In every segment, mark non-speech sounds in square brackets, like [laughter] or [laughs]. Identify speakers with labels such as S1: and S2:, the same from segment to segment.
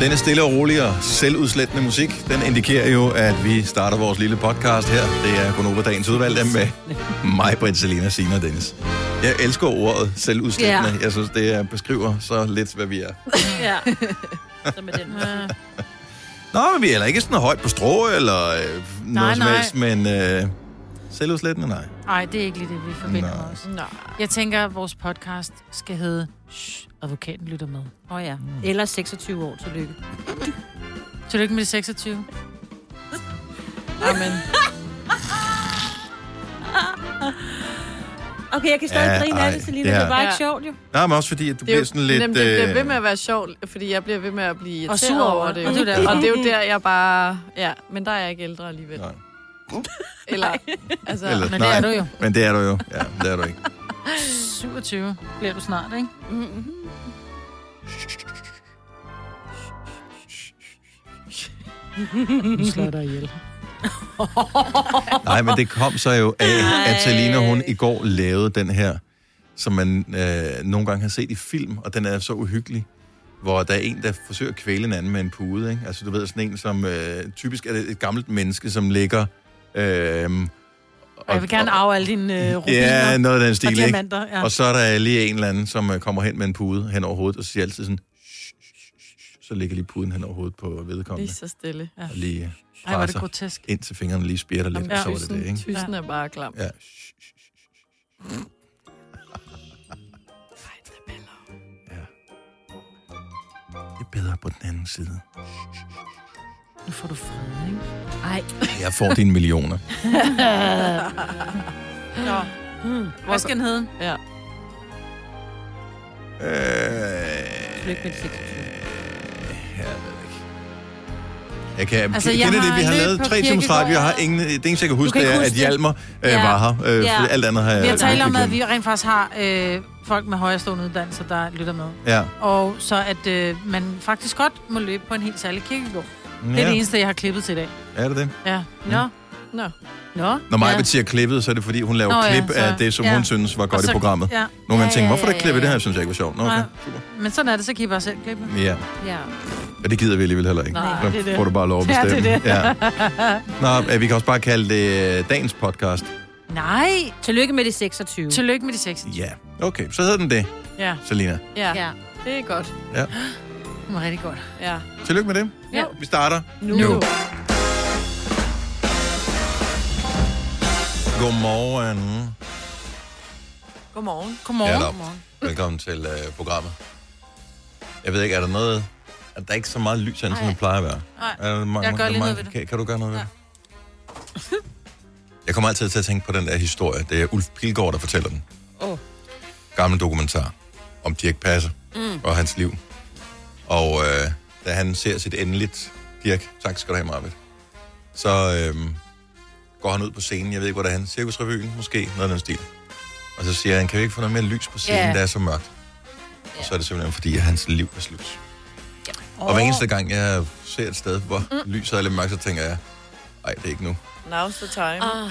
S1: Denne stille og rolige og selvudslættende musik, den indikerer jo, at vi starter vores lille podcast her. Det er Gunova Dagens Udvalgte med mig, Britt, Selina, Sina og Dennis. Jeg elsker ordet selvudslættende.
S2: Ja.
S1: Jeg synes, det øh, beskriver så lidt, hvad vi er.
S3: [laughs]
S2: Ja. Så med den.
S1: Nå, men vi er heller ikke sådan højt på strå eller øh, noget
S3: Nej,
S1: som
S3: nej.
S1: helst, men øh, selvudslættende, nej.
S3: Nej, det er ikke lige det, vi forbinder
S1: Nej.
S3: med os.
S2: Nå.
S3: Jeg tænker, at vores podcast skal hedde Shh, advokaten lytter med.
S2: Åh oh, ja.
S1: Mm.
S2: Eller 26 år, tillykke.
S3: [clears throat] Tillykke med de
S2: [laughs]
S3: 26. Amen.
S2: Okay, jeg kan stadig
S1: Ja,
S2: ja, grine af
S1: ej,
S2: det, Selina.
S1: det
S2: Det,
S1: er-
S2: det er bare ikke
S4: Ja.
S2: sjovt, jo.
S1: Nej, men også fordi, at du
S4: Det er
S1: bliver
S4: jo,
S1: sådan lidt...
S4: jamen, det bliver ved
S1: øh,
S4: med at være sjovt, fordi jeg bliver ved med at blive
S3: Og sur
S4: irriteret
S3: over
S4: over
S3: det. Og
S4: det.
S3: det er
S4: jo.
S3: derfor.
S4: og det er jo der, jeg bare... Ja, men der er jeg ikke ældre alligevel.
S1: Nej.
S4: Eller, altså,
S1: Eller,
S3: Men det
S1: nej,
S3: er du jo.
S1: Men det er du jo. Ja, det er du ikke.
S3: 27 bliver du snart, ikke?
S2: Mm-hmm.
S3: Nu slår
S2: [laughs]
S3: jeg dig ihjel.
S1: Nej, men det kom så jo
S3: [laughs]
S1: af, at Selina hun i går lavede den her, som man øh, nogle gange har set i film, og den er så uhyggelig, hvor der er en, der forsøger at kvæle en anden med en pude. Ikke? Altså du ved, sådan en, som øh, typisk er det et gammelt menneske, som ligger... Øh,
S3: Og jeg vil gerne arve alle dine øh, rubiner
S1: Ja, noget af den
S3: og
S1: stil, ikke?
S3: diamanter. Ja.
S1: Og så er der lige en eller anden, som øh, kommer hen med en pude hen over hovedet, og siger altid sådan... "Shh, shh, shh," Så ligger lige puden hen over hovedet på
S4: lige
S1: vedkommende.
S4: så stille. Ja.
S1: Og lige øh,
S3: Ej, hvor er det
S1: presser
S3: grotesk.
S1: ind til fingrene, lige spirter lidt, og så var det det,
S4: Tysen,
S1: ikke?
S4: tysen er bare klam.
S1: Ja. Det er bedre på den anden side.
S3: Nu får du fred, ikke?
S2: Ej.
S1: Jeg får dine
S3: [laughs]
S1: millioner.
S3: Nå. Hvad skal den hedde?
S4: Ja.
S1: Øh,
S2: Tillykke med de 26.
S1: jeg ved det ikke. Jeg kan,
S3: Altså,
S1: altså, det,
S3: jeg
S1: det, er det,
S3: har
S1: vi har
S3: løb
S1: lavet
S3: på
S1: tre timers
S3: Kierkegaard.
S1: række. Jeg har ingen, det eneste, jeg kan huske,
S3: kan
S1: det
S3: ikke
S1: er, at
S3: huske det.
S1: Hjalmar øh,
S3: Ja.
S1: var her. Øh,
S3: Ja.
S1: fordi Alt andet har jeg...
S3: Vi har talt om,
S1: glemt.
S3: at vi rent faktisk har øh, folk med højrestående uddannelser, der lytter med.
S1: Ja.
S3: Og så at øh, man faktisk godt må løbe på en helt særlig kirkegård. Ja. Det er det
S1: ja.
S3: eneste, jeg har klippet til i dag.
S1: Er det det?
S3: Ja. Nå.
S4: Nå.
S3: Nå.
S1: Når
S3: ja.
S1: Maja siger klippet, så er det, fordi hun laver
S3: Nå, ja,
S1: klip
S3: så-
S1: af det, som
S3: ja.
S1: hun synes var godt
S3: Og
S1: i
S3: så-
S1: programmet.
S3: Ja.
S1: Nogle gange
S2: Ja,
S1: tænker
S2: ja,
S1: hvorfor er der
S2: ja,
S1: klippet? Det
S2: ja.
S1: her synes jeg ikke var sjovt. Nå, okay.
S3: Nej. Men sådan er det, så kan I bare selv klippe.
S1: Ja.
S2: Ja.
S1: Men det gider vi alligevel heller ikke.
S4: Nej,
S3: det er
S1: så
S3: det.
S1: får du bare lov at
S3: Ja, det er
S1: bestemme. Ja.
S3: [laughs]
S1: Nå, øh, vi kan også bare kalde det øh, dagens podcast.
S3: Nej.
S2: Tillykke med de 26.
S3: Tillykke med de 6.
S1: Ja, okay. Så hedder den det,
S3: Ja,
S1: Selina.
S4: Ja,
S2: Ja.
S4: det er godt.
S3: det var rigtig godt.
S4: Ja.
S1: Tillykke med det.
S2: Ja.
S1: Vi starter
S4: Nu.
S1: nu. Godmorgen.
S4: Godmorgen.
S3: Godmorgen.
S1: Ja, da. Velkommen til øh, programmet. Jeg ved ikke, er der noget... Er der ikke så meget lys herinde, som
S2: Nej.
S1: det plejer at være?
S3: Nej.
S1: Er der mange,
S3: Jeg gør lige noget ved det.
S1: Kan, kan du gøre noget ved det? Jeg kommer altid til at tænke på den der historie. Det er Ulf Pilgaard, der fortæller den.
S2: Åh.
S1: Gammel dokumentar om Dirk Passer mm. og hans liv. Og øh, da han ser sit endeligt... Dirk, tak skal du have, Marvitt. Så øh, går han ud på scenen. Jeg ved ikke, hvor det er han. Cirkusrevyen måske. Noget af den stil. Og så siger han, kan vi ikke få noget mere lys på scenen,
S2: Ja.
S1: yeah. der er så mørkt? Yeah. Og så er det simpelthen fordi, at hans liv er slut. Oh. Og hver eneste gang, jeg ser et sted, hvor mm. lyset er lidt mørkt, så tænker jeg, nej, det er ikke nu.
S4: Now's the time.
S2: Ah.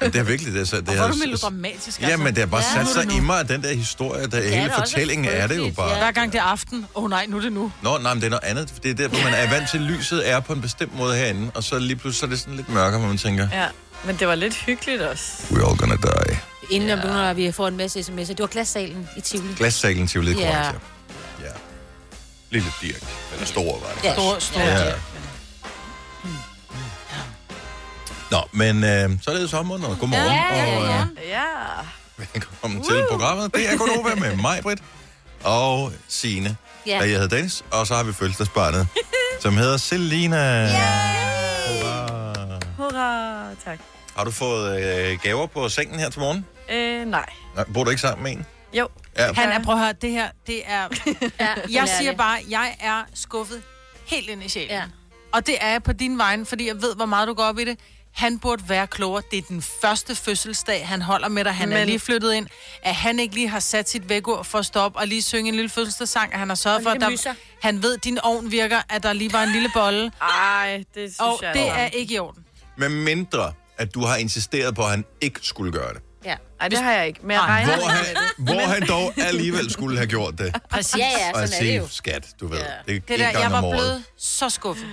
S1: Ja, det er virkelig det. Så det
S3: Og hvor er
S1: er,
S3: du melodramatisk,
S1: ja, men det er bare
S2: Ja.
S1: ja, sat sig i mig, at den der historie, der
S2: er
S1: hele
S2: da også
S1: fortællingen er det jo
S2: frygteligt,
S1: bare.
S2: ja.
S3: Hver gang det er aften. Åh oh, nej, nu er det nu.
S1: Nå, nej, men det er noget andet. Det er derfor, man er vant til, at lyset er på en bestemt måde herinde, og så lige pludselig så er det sådan lidt mørkere, hvor man tænker,
S4: [laughs] Ja, men det var lidt hyggeligt også.
S1: we're all gonna die.
S2: Inden om ja. vi får en masse sms'er. Det var glassalen i Tivoli.
S1: Glassalen til lidt
S2: Ja.
S1: korrekt, ja. ja. Lille Dirk, eller stor var det.
S2: Ja.
S3: Stor, stor.
S1: Ja. Hmm.
S3: Ja.
S1: Nå, men øh, så er det sommeren, og godmorgen,
S2: Ja, ja,
S1: og
S2: ja.
S1: øh,
S4: Ja.
S1: velkommen til programmet. Det er Konoba med mig, Britt, og Signe,
S2: Ja.
S1: ja. og jeg hedder Dennis, og så har vi fødselsdagsbarnet,
S2: [laughs]
S1: som hedder Selina. Hurra.
S4: Hurra, tak.
S1: Har du fået øh, gaver på sengen her til morgen?
S4: Øh, nej.
S1: Nej, bor du ikke sammen med en?
S4: Jo,
S1: Ja,
S3: Han er, prøv at høre, det her, det er...
S2: ja
S3: Jeg siger bare, jeg er skuffet helt ind i sjælen.
S2: Ja.
S3: Ja. Og det er jeg på din vegne, fordi jeg ved, hvor meget du går op i det. Han burde være klogere. Det er den første fødselsdag, han holder med dig. Han Men... er
S4: Men-
S3: lige flyttet ind. At han ikke lige har sat sit vækord for at stoppe og lige synge en lille fødselsdagssang, at han har sørget for, at
S2: lille
S3: der...
S2: myser.
S3: han ved, at din ovn virker, at der lige var en lille bolle.
S4: Ej, det synes
S3: Og
S4: jeg
S3: det
S4: altså.
S3: er ikke i orden.
S1: med mindre, at du har insisteret på, at han ikke skulle gøre det.
S2: Ja.
S4: Ej, det har jeg ikke. Men jeg
S3: Ej,
S4: regner
S1: Hvor han, hvor han dog alligevel skulle have gjort det.
S3: Præcis.
S2: Ah, [laughs] Ja, ja,
S1: Og at
S2: sådan er det jo.
S1: sige, skat, du ved,
S2: Ja.
S1: det er ikke
S3: Det der,
S1: engang
S3: jeg
S1: om
S3: var
S1: året.
S3: blevet så skuffet.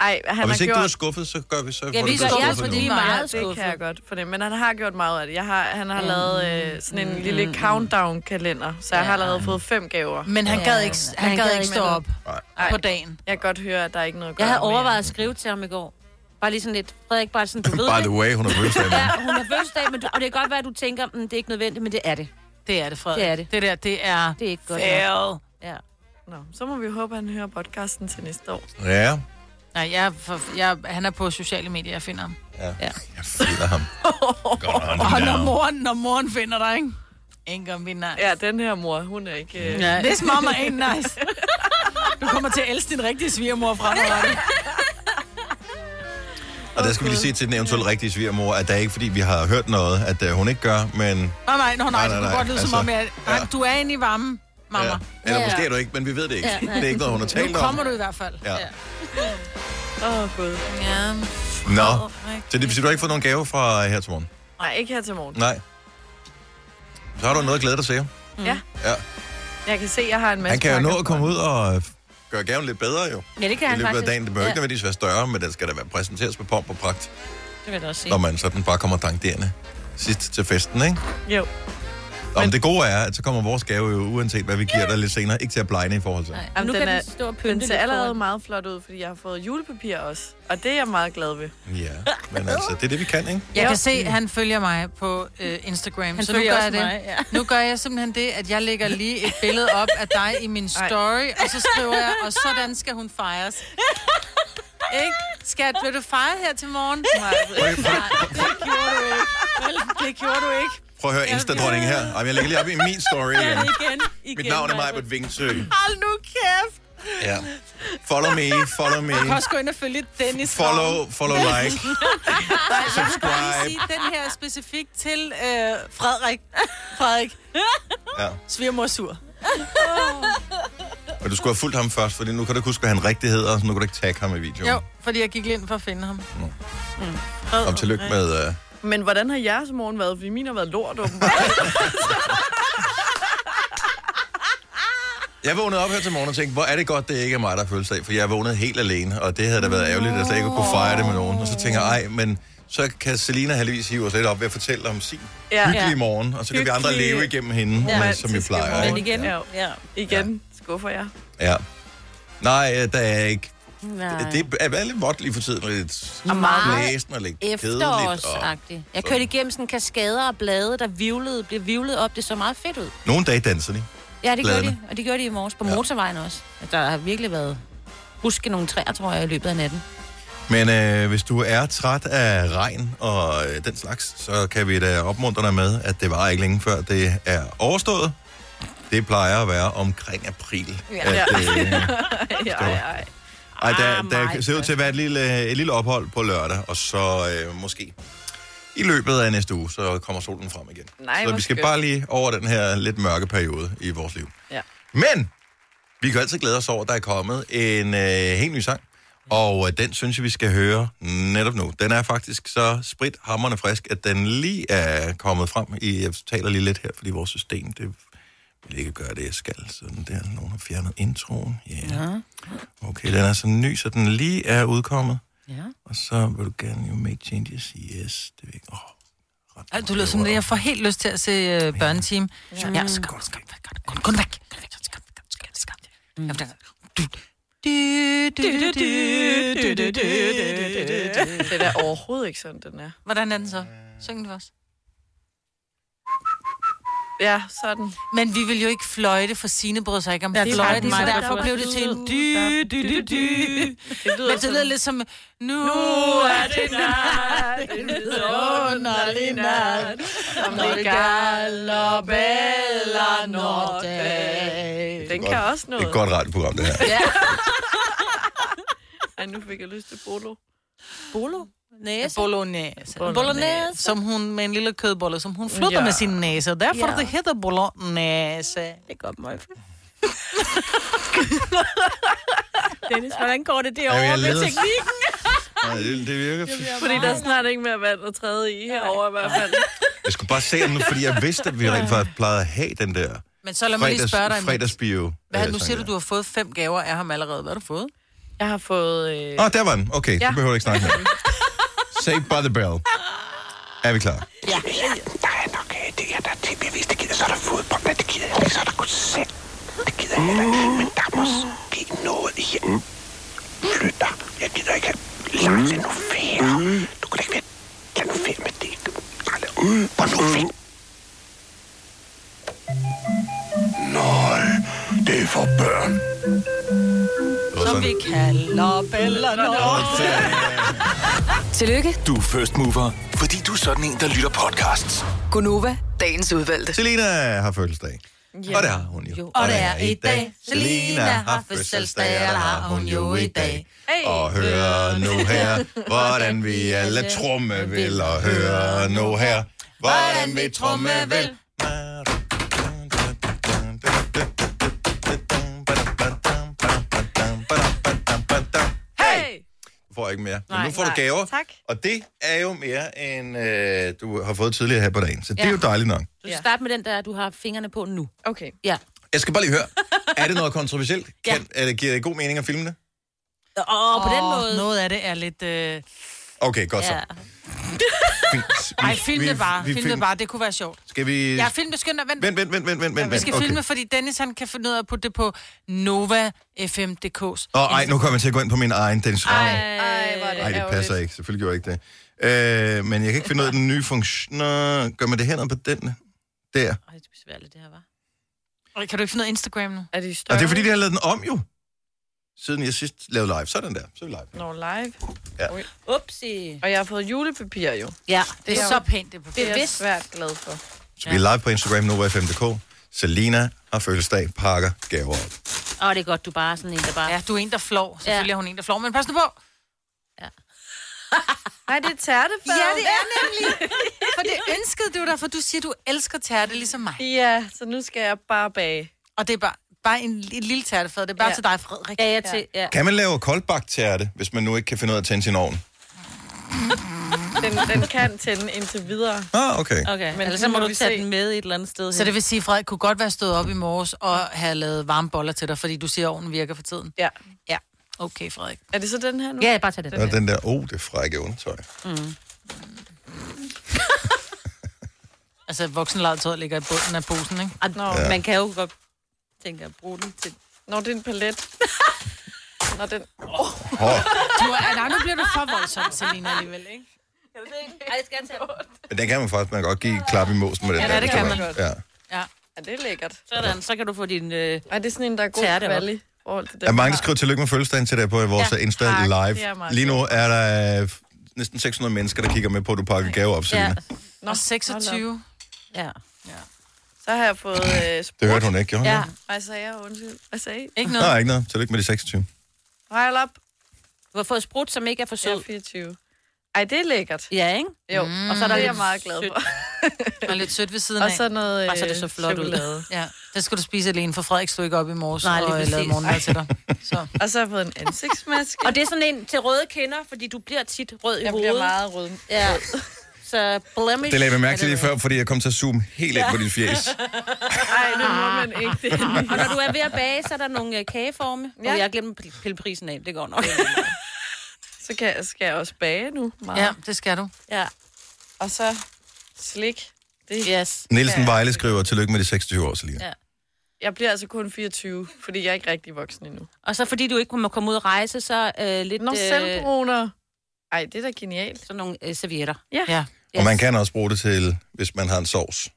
S4: Ej, han
S1: Og
S4: har
S1: hvis ikke du er
S4: gjort...
S1: skuffet, så gør vi så.
S2: Ja,
S1: får
S2: vi
S1: du
S2: gør-
S1: bedre
S2: ja,
S1: skuffet
S2: fordi er
S1: nu.
S2: meget
S4: det
S2: skuffet.
S4: kan jeg godt for det. Men han har gjort meget af det. Jeg har, han
S3: Mm.
S4: har lavet øh, sådan en lille countdown-kalender, så jeg har allerede fået fem gaver.
S3: Men han
S2: Ja.
S3: gad ikke, han gad ikke stå op
S1: Nej.
S3: på dagen.
S4: Jeg kan godt høre, at der er ikke noget at gøre
S2: Jeg havde
S4: mere.
S2: overvejet at skrive til ham i går. Bare lige sådan lidt, Frederik, bare sådan, du [laughs] ved
S1: By
S2: det.
S1: the way, hun har fødselsdag. i morgen.
S2: Ja, hun har fødselsdag, men du, og det kan godt være, at du tænker, mm, det er ikke nødvendigt, men det er det.
S3: Det er det, Frederik.
S2: Det er det.
S3: Det der, det er...
S2: Det er ikke godt nok.
S3: Fail.
S2: Ja.
S4: Nå, så må vi håbe, at han hører podcasten til næste år.
S1: Ja,
S3: Nej, jeg, er for, jeg, han er på sociale medier, jeg finder ham.
S1: ja.
S2: Ja.
S1: Jeg finder
S4: [laughs]
S1: ham. Godt on
S3: Og når
S1: down.
S3: moren, når moren finder dig, ikke? Ingen om nice.
S4: Ja, den her mor, hun er ikke... Øh...
S3: Ja. This mama ain't nice. [laughs] Du kommer til at elske din rigtige svigermor fremadrettet.
S1: Og der skal vi lige sige til den eventuelle rigtige svigermor, at det er ikke fordi, vi har hørt noget, at øh, hun ikke gør, men...
S3: Nej, nej, nå, nej, nej,
S1: Nej, nej,
S3: det kunne
S1: nej,
S3: godt lyde altså,
S1: altså,
S3: som om, jeg,
S1: ja.
S3: ja. du er inde i varmen, mamma.
S1: Ja.
S3: Ja.
S1: Eller
S2: Ja.
S1: måske er du ikke, men vi ved det ikke.
S2: Ja, nej.
S1: Det er ikke noget, hun har talt
S3: Nu
S1: om.
S3: kommer du i hvert fald.
S1: Ja.
S4: Åh, oh, gud.
S3: ja.
S1: Nå, så det betyder, du har ikke fået nogen gave fra øh, her til morgen?
S4: Nej, ikke her til morgen.
S1: Nej. Så har du noget at glæde dig til.
S3: Mm.
S4: Ja.
S1: Ja.
S4: Jeg kan se, at jeg har en masse
S1: Han kan jo nå
S4: pakker
S1: at
S4: foran.
S1: komme ud og øh, gøre gaven lidt bedre, jo.
S2: ja, det kan
S1: I
S2: han
S1: løbet af
S2: faktisk.
S1: dagen. Det behøver ikke
S2: ja,
S1: nødvendigvis være større, men den skal da være præsenteres med pomp og pragt,
S2: det vil jeg da også sige.
S1: når man sådan bare kommer dankderende sidst til festen, ikke?
S4: Jo.
S1: Nå, men det gode er, at så kommer vores gave jo, uanset hvad vi giver dig lidt senere, ikke til at blegne i forhold til.
S2: Nej, men
S4: Jamen,
S2: nu
S4: den
S2: kan
S4: er-
S2: den stå og
S4: Den
S2: pynte
S4: ser allerede
S2: foran.
S4: meget flot ud, fordi jeg har fået julepapir også. Og det er jeg meget glad ved.
S1: Ja, men altså, det er det, vi kan, ikke?
S3: Jeg kan se, at han følger mig på øh, Instagram.
S2: Han
S3: så nu
S2: følger
S3: gør, jeg
S2: også
S3: det.
S2: mig, ja.
S3: nu gør jeg simpelthen det, at jeg lægger lige et billede op af dig i min story, Ej. og så skriver jeg, og sådan skal hun fejres. Ikke? Skat, vil du fejre her til morgen? Nej,
S1: Prøv, prøv,
S3: det gjorde du ikke. Vel, det gjorde du ikke.
S1: prøv at høre Insta-dronning her. Ej, men jeg lægger lige op i min story igen.
S2: Igen, igen.
S1: Mit navn er Majbert Vingsø.
S3: Hold nu kæft.
S1: Ja. Follow me, follow me.
S3: Du kan også gå ind og følge Dennis. Ravn.
S1: Follow, follow
S3: [laughs]
S1: like.
S3: Bare lige
S1: Subscribe.
S3: sige, den her er specifikt til øh, Frederik. Frederik,
S1: Ja.
S3: svigermor sur.
S1: Og du skulle have fulgt ham først, for nu kan du ikke huske, hvad han rigtig hedder, så nu kan du ikke tagge ham i videoen.
S3: Jo, fordi jeg gik lige ind for at finde ham.
S1: Om tillykke med... Uh...
S4: Mm. Men hvordan har jeres morgen været? Fordi min har været lort, åbenbart.
S1: Jeg vågnede op her til morgen og tænkte, hvor er det godt, det ikke er mig, der har fødselsdag, for jeg vågnede helt alene, og det havde da været ærgerligt, at jeg slet ikke kunne fejre det med nogen. Og så tænker jeg, ej, men så kan Selina heldigvis hive os lidt op ved at fortælle om sin
S4: Ja.
S1: hyggelige morgen, og så kan vi andre
S4: Hyggelige,
S1: leve igennem hende, ja. som vi
S4: romantiske
S1: plejer.
S4: morgen.
S2: Men
S1: ikke?
S2: igen,
S4: Ja.
S2: ja. ja.
S4: Igen skuffer jeg.
S1: Ja. Nej, øh, der er ikke...
S2: Nej.
S1: Det er bare lidt vådt lige for tiden, og lidt
S2: er meget
S1: blæsende og lidt kedeligt. Og...
S2: efterårsagtigt. Jeg kørte igennem sådan kaskader og blade, der vivlede, blev vivlet op. Det så meget fedt ud.
S1: Nogle dage danser de.
S2: Ja, det gjorde
S1: Bladene.
S2: de. Og det gjorde de i morges på
S1: Ja.
S2: motorvejen også. Der har virkelig været huske nogle træer, tror jeg, i løbet af natten.
S1: Men øh, hvis du er træt af regn og øh, den slags, så kan vi da opmuntre dig med, at det var ikke længe før det er overstået. Det plejer at være omkring april. [laughs] Ja. At, øh,
S4: Ej, ej, ej.
S1: ej, der,
S2: Ah,
S1: der
S2: meget
S1: ser ud til at være et lille, øh, et lille ophold på lørdag, og så øh, måske i løbet af næste uge, så kommer solen frem igen.
S4: Nej,
S1: så
S4: hvor
S1: vi skal
S4: skønt.
S1: bare lige over den her lidt mørke periode i vores liv.
S4: Ja.
S1: Men vi kan altid glæde os over, at der er kommet en øh, helt ny sang. Og øh, den synes jeg, vi skal høre netop nu. Den er faktisk så sprit hammerne frisk, at den lige er kommet frem. I, jeg taler lige lidt her, fordi vores system det vil ikke gøre det, jeg skal. Sådan der. Nogen har fjernet introen. Yeah. Ja. Okay, den er så ny, så den lige er udkommet.
S2: Ja.
S1: Og så vil du gerne jo make changes. Yes, det vil ikke. Oh, ret
S3: Ej, Du lyder som det. Jeg får helt lyst til at se øh, børneteam. Ja, ja så kom, så kom, væk, kom, kom, væk. Kom væk, så kom, kom, så kom, så kom. Ja, for der- Du- du- du- du- du- du- du- du- du- du- du-
S4: Det er da overhovedet ikke sådan, den er.
S3: Hvordan er den så? Syng den for os.
S4: Ja, sådan.
S3: Men vi vil jo ikke fløjte, for Signe bryder sig ikke om
S4: det er
S3: fløjten,
S4: faktisk
S3: så
S4: mig, der
S3: derfor
S4: var
S3: blev det til en
S4: sød.
S3: dy, dy, dy, dy.
S4: Det lyder
S3: Men det lyder lidt som, nu er det nat, en vidunderlig nat,
S4: som
S3: når det galoppeller når dag.
S4: Den kan også
S1: Det er
S4: noget.
S1: et godt radioprogram, det her.
S4: Ej, nu fik jeg lyst til bolo.
S2: Bolo? Næse?
S3: Bolognese.
S2: Bolognese.
S3: Som hun med en lille kødbolle, som hun flytter
S4: Ja.
S3: med sin næse. og Derfor
S2: Ja.
S3: det hedder bolognese.
S2: Det går mig. Dennis, hvordan går det
S1: Jamen,
S2: derovre
S1: jeg
S2: med
S1: leder-
S2: teknikken?
S1: Nej, det, det virker.
S4: Fordi der er snart ikke mere vand at træde i herovre i hvert fald.
S1: Jeg skulle bare se om nu, fordi jeg vidste, at vi rent faktisk plejede at have den der
S3: Men så lad mig lige spørge dig. Fredags,
S1: fredagsbio. øh,
S3: hvad, nu siger du, du har fået fem gaver af ham allerede. Hvad har du fået?
S4: Jeg har fået... Øh,
S1: Åh, oh, der var den. Okay, ja.
S4: Ja.
S1: så behøver du ikke snakke mere.
S2: [laughs]
S1: [laughs] Saved by the bell. Er vi klar?
S5: Der er nok øh, det her, der er ting, jeg vidste, det gider. Så er der fodbold, men det gider jeg ikke. Så er der koncert, det gider jeg heller ikke. Men der er måske noget her. Flytter. Jeg gider ikke. Lars, lad nu være. Du kan da ikke være... Lad nu være med det. Nej, lad- Hvor nu fint. Nej, det er for børn.
S1: Det var sådan.
S3: kalder Bella
S6: [laughs] Tillykke,
S5: Du er first mover, fordi du er sådan en, der lytter podcasts.
S6: Gunova, dagens udvalgte.
S1: Selina har fødselsdag. Ja. Og det har
S7: øh,
S1: hun jo. jo.
S3: Og det er i dag. Selina har fødselsdag, og det har hun jo i dag.
S1: Hey. Og hør nu her, hvordan vi alle tromme vil. Og hør nu her, hvordan vi tromme vil.
S4: hey!
S1: Du får ikke mere. Men
S4: Nej,
S1: nu får du
S4: nej.
S1: gaver.
S4: Tak.
S1: Og det er jo mere, end øh, du har fået tidligere her på dagen. Så [laughs] det er jo dejligt nok.
S2: Du skal starte med den der, du har fingrene på nu.
S4: Okay.
S2: Ja.
S1: Jeg skal bare lige høre, er det noget
S3: [laughs]
S1: kontroversielt? Kan, er det, giver det god mening at filme det?
S2: Og på den måde...
S3: Noget af det er lidt... Øh...
S1: Okay, godt så.
S2: Ja.
S1: Fint. Vi-
S3: Ej, film
S1: vi-
S3: det bare.
S1: vi
S3: Film det bare. Det kunne være sjovt.
S1: Skal vi...
S3: Ja, film det skønt. Vent,
S1: Vent, vent, vent, vent, vent, vent.
S3: vi skal
S1: okay.
S3: filme, fordi Dennis han kan finde ud af at putte det på NovaFM.dk's.
S1: Åh, ej, nu kommer jeg til at gå ind på min egen Dennis Ravn. Ej,
S4: Ej, hvor er det
S1: det
S4: ærgerligt.
S1: passer ikke. Selvfølgelig gjorde jeg ikke det. Øh, men jeg kan ikke finde ud af den nye funktion. Nå, Gør man det hernede på den? Der.
S2: Ej, det er besværligt, det her, var.
S3: Ej, Kan du ikke finde noget Instagram nu?
S4: Er de større?
S1: Og det er fordi, de har lavet den om jo. Siden jeg sidst lavede live. Sådan der. Så er vi live.
S4: Når live.
S2: Upsi.
S4: Og jeg har fået julepapir jo.
S2: Ja,
S3: Det er så pænt, det på
S4: Det er jeg
S2: Bevidst.
S4: svært glad for.
S1: Vi er live på Instagram, NovaFM.dk. Selina har fødselsdag, pakker, gaver op.
S2: Åh, det er godt, du bare er sådan en, der bare...
S3: Ja, du er en, der flår. Selvfølgelig
S2: Ja.
S3: er hun en, der flår, men pas nu på.
S4: Nej, det er tærtefad.
S3: er nemlig. For det ønskede du dig, for du siger, du elsker tærte ligesom mig.
S4: Ja, så nu skal jeg bare bage.
S3: Og det er bare, bare en, li- lille tærtefad. Det er bare ja.
S4: Ja.
S3: til dig, Frederik.
S2: Ja, ja, til, ja.
S1: Kan man lave koldbagt tærte, hvis man nu ikke kan finde ud af at tænde sin ovn?
S4: Den, den kan tænde indtil videre.
S1: Ah, okay.
S2: Okay,
S4: Men
S2: men ellers
S4: nu
S2: så må
S4: må
S2: du
S4: vi
S2: tage
S4: se.
S2: den med et eller andet sted.
S3: Så det vil sige, at Frederik kunne godt være stået op i morges og have lavet varme boller til dig, fordi du siger, at ovnen virker for tiden.
S4: Ja.
S3: Ja. Okay, Frederik.
S4: Er det så den her nu?
S2: Ja, bare tag den.
S1: Der er den der, oh, det frække undertøj.
S3: Mm. Altså, voksenlejetøjet ligger i bunden af posen, ikke?
S2: Ej, Nå,
S1: Ja.
S2: man kan jo godt tænke at bruge den til...
S4: Når det er en palet. Når den...
S1: Hår.
S3: Du, er, nej, nu bliver du for voldsom, Selina, alligevel, ikke?
S2: Ej, jeg skal tage den.
S1: Men den kan man faktisk, man kan godt give et klap i måsen med den
S3: Ja,
S1: der.
S3: det
S1: hvis
S3: kan
S1: var-
S3: man.
S1: Ja.
S3: Ja.
S4: Ja, det er lækkert.
S2: Sådan, så kan du få din... Øh...
S4: Ej, det er sådan en, der er god
S2: Tærte op.
S4: kvali. i forhold til den,
S1: Der er mange,
S4: jeg
S1: der
S4: har.
S1: skriver tillykke med fødselsdagen til dig på øh, vores ja,
S2: Ja,
S1: Insta
S4: tak.
S1: live.
S4: Det er meget
S1: Lige nu er der øh, næsten 600 mennesker, der kigger med på, at du pakker gaver op, Selina.
S2: Ja,
S1: Ja.
S3: Og 26.
S2: ja.
S4: Så har jeg fået øh, sprut.
S1: Det hørte hun ikke, gjorde hun
S2: ja.
S1: det?
S4: Hvad sagde jeg? Undskyld. Hvad sagde I?
S3: Ikke
S1: Nej,
S3: noget.
S1: ikke noget. Tillykke med de 26.
S4: Hejl op.
S2: Du har fået sprut, som ikke er for
S4: Jeg
S2: sød.
S4: er 24. Ej, det er lækkert.
S2: Ja, ikke?
S4: Jo, mm, og så er der det er jeg meget glad for.
S3: Og lidt sødt ved siden
S4: Og
S3: af.
S4: så noget øh,
S2: Bare så det så flot ud.
S4: chokolade.
S3: Ja, det skal du spise alene, for Frederik stod ikke op i morges
S2: Nej, lige
S3: og øh, lavede
S2: præcis.
S3: morgenmad til dig. [laughs] Så.
S4: Og så har jeg fået en ansigtsmaske.
S2: Og det er sådan en til røde kinder, fordi du bliver tit rød i
S4: jeg
S2: hovedet.
S4: bliver meget rød.
S2: Ja. Så blemish.
S1: Det lagde jeg
S2: er
S1: mærke til lige
S2: vel.
S1: før, fordi jeg kom til at zoome helt ind på
S2: [laughs]
S1: dit
S4: [laughs]
S1: fjes.
S4: Ej, det må man ikke. Det er
S2: Og når du er ved at bage, så er der nogle øh, kageforme. Ja.
S4: Ja.
S2: Og jeg glemte at pille prisen af. Det går nok.
S4: Så kan, jeg- skal jeg også bage nu. Meget.
S3: Ja, det skal du.
S2: ja.
S4: Og så slik. Det,
S2: Yes.
S1: Nielsen Vejle skriver, tillykke med de 26 år, Selina. Ja.
S2: Ja.
S4: Jeg bliver altså kun 24, fordi jeg er ikke rigtig voksen endnu.
S2: Og så fordi du ikke må komme ud og rejse, så øh, lidt...
S4: Nå, selvbruner. Ej, det er da genialt.
S2: sådan nogle øh, servietter.
S3: Ja.
S1: Og man kan også bruge det til, hvis man har en sovs.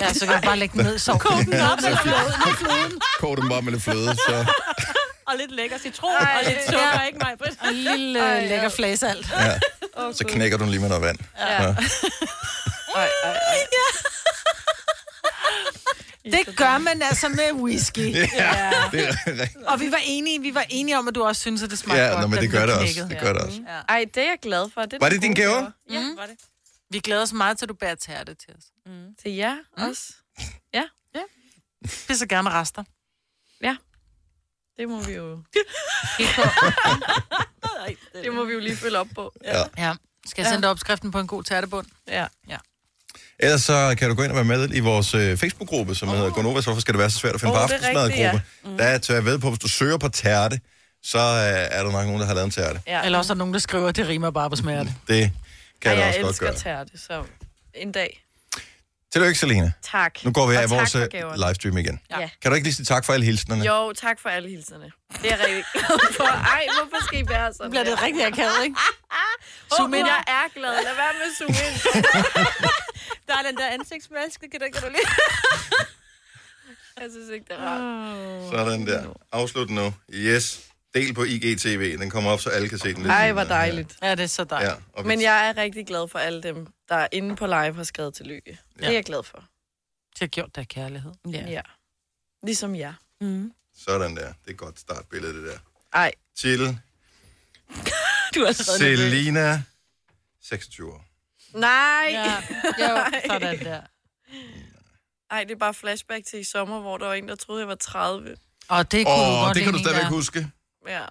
S3: ja så kan du bare lægge
S4: [laughs]
S3: den ned i soven.
S2: Op
S1: [laughs]
S2: med floden, med floden.
S1: Kog dem bare med lidt fløde, så...
S2: [laughs] Og lidt lækker citron,
S4: Ej.
S2: og lidt sukker, ikke mig, Britt?
S3: En lille øh, lækker flæsalt. [laughs]
S1: Ja. Så knækker du den lige med noget vand. Ja. Ja.
S4: Ej, ej, ej.
S3: Det gør man altså med whisky.
S1: [laughs] Det er rigtigt.
S3: Og vi var enige, vi var enige om, at du også synes, at det smagte
S1: Ja,
S3: godt.
S1: nå, men
S3: da
S1: det
S3: den
S1: gør
S3: blev
S1: det også.
S3: knækket.
S1: Det gør det også.
S4: Ej, det er jeg glad for. Det er
S1: Var
S4: da
S1: det dine
S4: gode
S1: gaver?
S4: Ja, var det.
S3: Mm. Vi glæder os meget til, at du bærer tærte til os.
S4: [laughs]
S3: Mm.
S4: Til jer også.
S3: Det så gerne rester.
S4: Ja. Det må vi jo, [laughs]
S2: Ej, det-
S4: det må vi jo lige følge op på.
S1: Ja.
S3: Ja. Skal jeg sende dig opskriften på en god tærtebund?
S4: Ja.
S1: Ellers så kan du gå ind og være med i vores øh, Facebook-gruppe, som oh. hedder Gonova, så hvorfor skal det være så svært at finde oh,
S4: Åh,
S1: på
S4: det er rigtigt,
S1: aftensmadgruppe. Ja. Mm. Der tør jeg ved på, hvis du søger på tærte, så øh, er der nok nogen, der har lavet en tærte.
S4: Ja.
S3: Eller også er der nogen, der skriver, at det rimer bare på smerte.
S1: Det kan
S4: Ej,
S1: jeg,
S4: jeg
S1: også
S4: elsker
S1: godt gøre.
S4: tærte, så en dag.
S1: Tillykke, Selina.
S4: Tak.
S1: Nu går vi
S4: Og
S1: af
S4: tak
S1: vores
S4: for
S1: øh,
S4: gaverne.
S1: livestream igen.
S4: Ja.
S1: Kan du ikke lige sige tak for alle hilsnerne?
S4: Jo, tak for alle hilserne. Det er jeg rigtig glad for. Ej, hvorfor skal I være sådan?
S3: Bliver det rigtig akavet,
S4: [laughs]
S3: ikke?
S4: Zoom ind. Jeg er glad. Lad være med at zoome ind.
S2: Der er den der ansigtsmaske, kan du, kan du lige...
S4: [laughs] Jeg synes ikke, det er rart.
S1: Sådan der. Afslut nu. Yes. Del på IGTV. Den kommer op, så alle kan se den. lidt
S4: Ej,
S1: senere.
S4: hvor dejligt.
S3: Ja, det er så
S1: Ja.
S3: dejligt.
S1: Ja, og vi-
S4: Men jeg er rigtig glad for alle dem, der inde på live har skrevet tillykke. Det er jeg glad for.
S3: Det har gjort dig kærlighed.
S4: Ja. Ligesom [laughs] jeg.
S1: Sådan der. Det er et godt startbillede, det der.
S4: Ej,
S1: Til
S2: Du er allerede nervøs.
S1: Selina, 26 år.
S4: nej.
S3: Ja,
S4: [laughs]
S3: jo, sådan der.
S4: Ej, det er bare flashback til i sommer, hvor der var en, der troede, jeg var 30.
S3: Og det kunne
S1: Åh,
S3: oh,
S1: oh,
S3: godt
S1: det kan du
S3: lide,
S1: stadigvæk
S3: Nina.
S1: huske.
S4: Ja,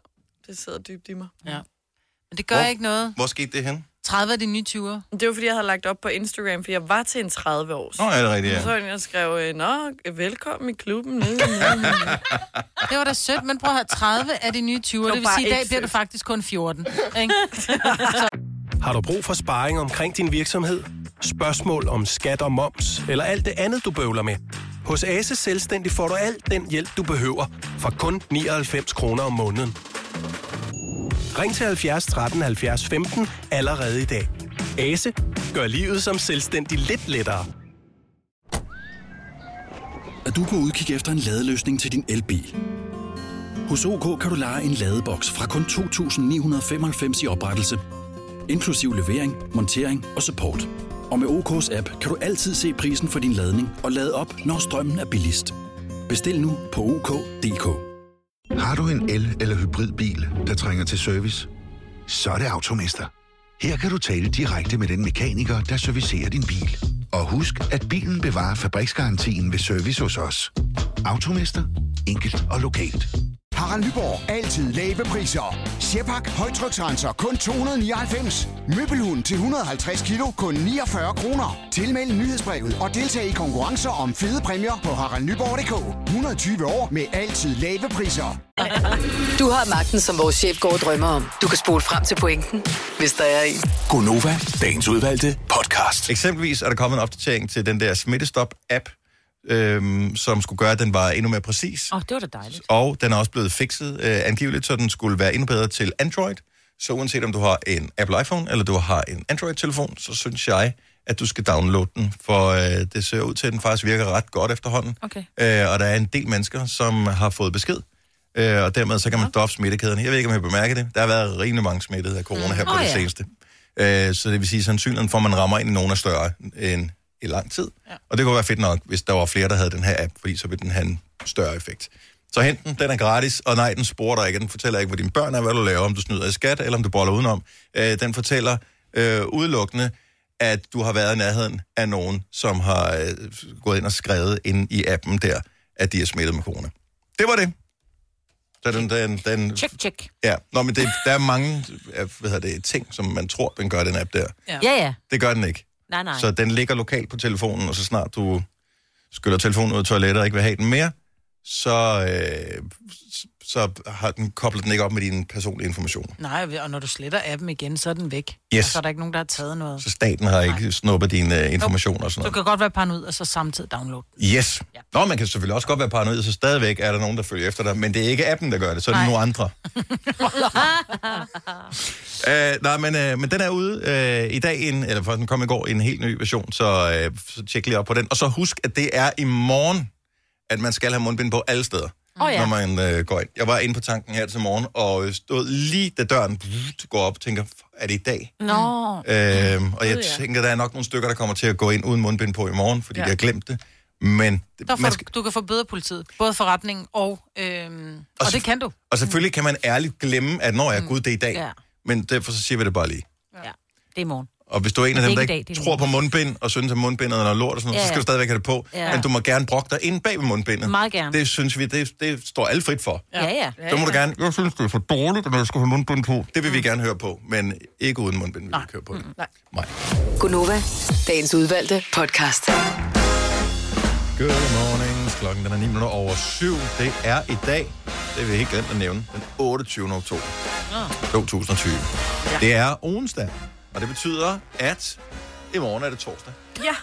S4: det sidder dybt i mig.
S3: Men det gør
S1: Hvor-
S3: ikke noget.
S1: Hvor skete det hen?
S3: 30 er de nye 20'er.
S4: Men Det var, fordi jeg havde lagt op på Instagram, fordi jeg var til en 30 års.
S1: Nå, er det rigtigt,
S4: Så
S1: ja.
S4: var der en, der skrev, øh, Nå, velkommen i klubben. [laughs]
S3: Det var da sødt, men prøv at høre, 30 er de nye 20'er.
S4: var
S3: Det vil
S4: bare
S3: sige, i dag
S4: ikke
S3: bliver
S4: sødt.
S3: det faktisk kun 14. Ikke?
S8: Har du brug for sparring omkring din virksomhed? Spørgsmål om skat og moms, eller alt det andet, du bøvler med? Hos Ase Selvstændig får du alt den hjælp, du behøver, for kun 99 kroner om måneden. Ring til 70 13 70 15 allerede i dag. Ase gør livet som selvstændig lidt lettere.
S9: at du kan udkigge efter en ladeløsning til din elbil. Hos OK kan du lege en ladeboks fra kun 2.995 i oprettelse, inklusiv levering, montering og support. Og med OK's app kan du altid se prisen for din ladning og lade op, når strømmen er billigst. Bestil nu på OK.dk.
S10: Har du en el- eller hybridbil, der trænger til service? Så er det Automester. Her kan du tale direkte med den mekaniker, der servicerer din bil. Og husk, at bilen bevarer fabriksgarantien ved service hos os. Automester. Enkelt og lokalt.
S11: Harald Nyborg. Altid lave priser. Sjehpak. Højtryksrenser. Kun 299. Møbelhund til 150 kilo. Kun 49 kroner. Tilmeld nyhedsbrevet og deltag i konkurrencer om fede præmier på haraldnyborg.dk. 120 år med altid lave priser.
S6: Du har magten, som vores chef går og drømmer om. Du kan spole frem til pointen, hvis der er en.
S9: Gonova, dagens udvalgte podcast.
S1: Eksempelvis er der kommet en opdatering til den der smittestop-app, øhm, som skulle gøre, at den var endnu mere præcis.
S2: Åh, oh, det var da dejligt.
S1: Og den er også blevet fikset øh, angiveligt, så den skulle være endnu bedre til Android. Så uanset om du har en Apple iPhone, eller du har en Android-telefon, så synes jeg, at du skal downloade den, for øh, det ser ud til, at den faktisk virker ret godt efterhånden.
S2: Okay.
S1: Øh, og der er en del mennesker, som har fået besked, øh, og dermed så kan man ja. stoppe smittekæden. Jeg ved ikke, om jeg bemærker det. Der har været rimelig mange smittede af corona her på
S2: Åh,
S1: det
S2: ja.
S1: seneste. Øh, så det vil sige, at sandsynligheden for, at man rammer ind i nogen er større end i lang tid. Ja. Og det kunne være fedt nok, hvis der var flere, der havde den her app, fordi så ville den have en større effekt. Så hent den, den er gratis, og nej, den sporer dig ikke, den fortæller ikke, hvor dine børn er, hvad du laver, om du snyder i skat, eller om du boller udenom. Øh, den fortæller øh, udelukkende, at du har været i nærheden af nogen, som har øh, gået ind og skrevet ind i appen der, at de er smittet med corona. Det var det. Så den, den, den
S2: Tjek, tjek.
S1: Ja, Nå, men det, der er mange øh, hvad hedder det, ting, som man tror, den gør, den app der.
S2: Ja, ja.
S1: Det gør den ikke.
S2: Nej, nej.
S1: Så den ligger lokalt på telefonen, og så snart du skyller telefonen ud af toilettet og ikke vil have den mere, så, øh, s- så har den koblet den ikke op med dine personlige informationer.
S3: Nej, og når du sletter appen igen, så er den væk. Altså,
S1: Yes.
S3: Så er der ikke nogen, der har taget noget.
S1: Så staten har ikke snuppet dine øh, informationer og
S3: Du
S1: sådan noget.
S3: kan godt være paranoid, og så samtidig download
S1: [laughs]
S3: den.
S1: Yes. Nå, man kan selvfølgelig også godt være paranoid, så stadigvæk er der nogen, der følger efter dig, men det er ikke appen, der gør det, så er det
S3: Nej.
S1: nogle andre. Øh, nej, men, øh, men den er ude øh, i dag, en, eller for den kom i går, en helt ny version, så, øh, så tjek lige op på den. Og så husk, at det er i morgen, at man skal have mundbind på alle steder,
S2: Åh, ja.
S1: når man øh, går ind. Jeg var inde på tanken her til morgen, og øh, stod lige da døren går op, tænker, "F- er det i dag?
S2: Nå.
S1: Øh, og jeg
S4: ja.
S1: tænker, der er nok nogle stykker, der kommer til at gå ind uden mundbind på i morgen, fordi ja.
S4: Ja.
S1: de har glemt det. Men
S3: Der får
S1: man
S3: skal... du, du kan få bøde af politiet, både forretningen og... Øhm, og, og
S1: så-
S3: det kan du.
S1: og selvfølgelig kan man ærligt glemme, at når jeg er gud, det er Altså i dag.
S2: Ja.
S1: Men derfor så siger vi det bare lige.
S2: Ja. Det er i morgen.
S1: Og hvis du er en af
S2: Det er
S1: dem, der
S2: ikke i
S1: ikke
S2: dag, det er
S1: tror på mundbind, og synes, at mundbindet er noget lort og sådan noget,
S2: Ja,
S1: så skal
S2: ja.
S1: du stadigvæk have det på.
S2: Ja.
S1: Men du må gerne brokke dig ind bag ved mundbindet.
S2: Meget gerne.
S1: Det synes vi, det, det står alle frit for.
S2: Ja, ja.
S1: Så må du gerne, jeg synes, det er for dårligt, når jeg skal have mundbind på. Det vil vi gerne høre på, men ikke uden mundbind vil vi ikke høre på det.
S6: Gunova, dagens udvalgte podcast.
S1: Good morning. Klokken den er 9 minutter over 7. Det er i dag, det vil jeg ikke glemt at nævne, den 28. oktober 2020. Det er onsdag, og det betyder, at i morgen er det torsdag.
S4: Ja.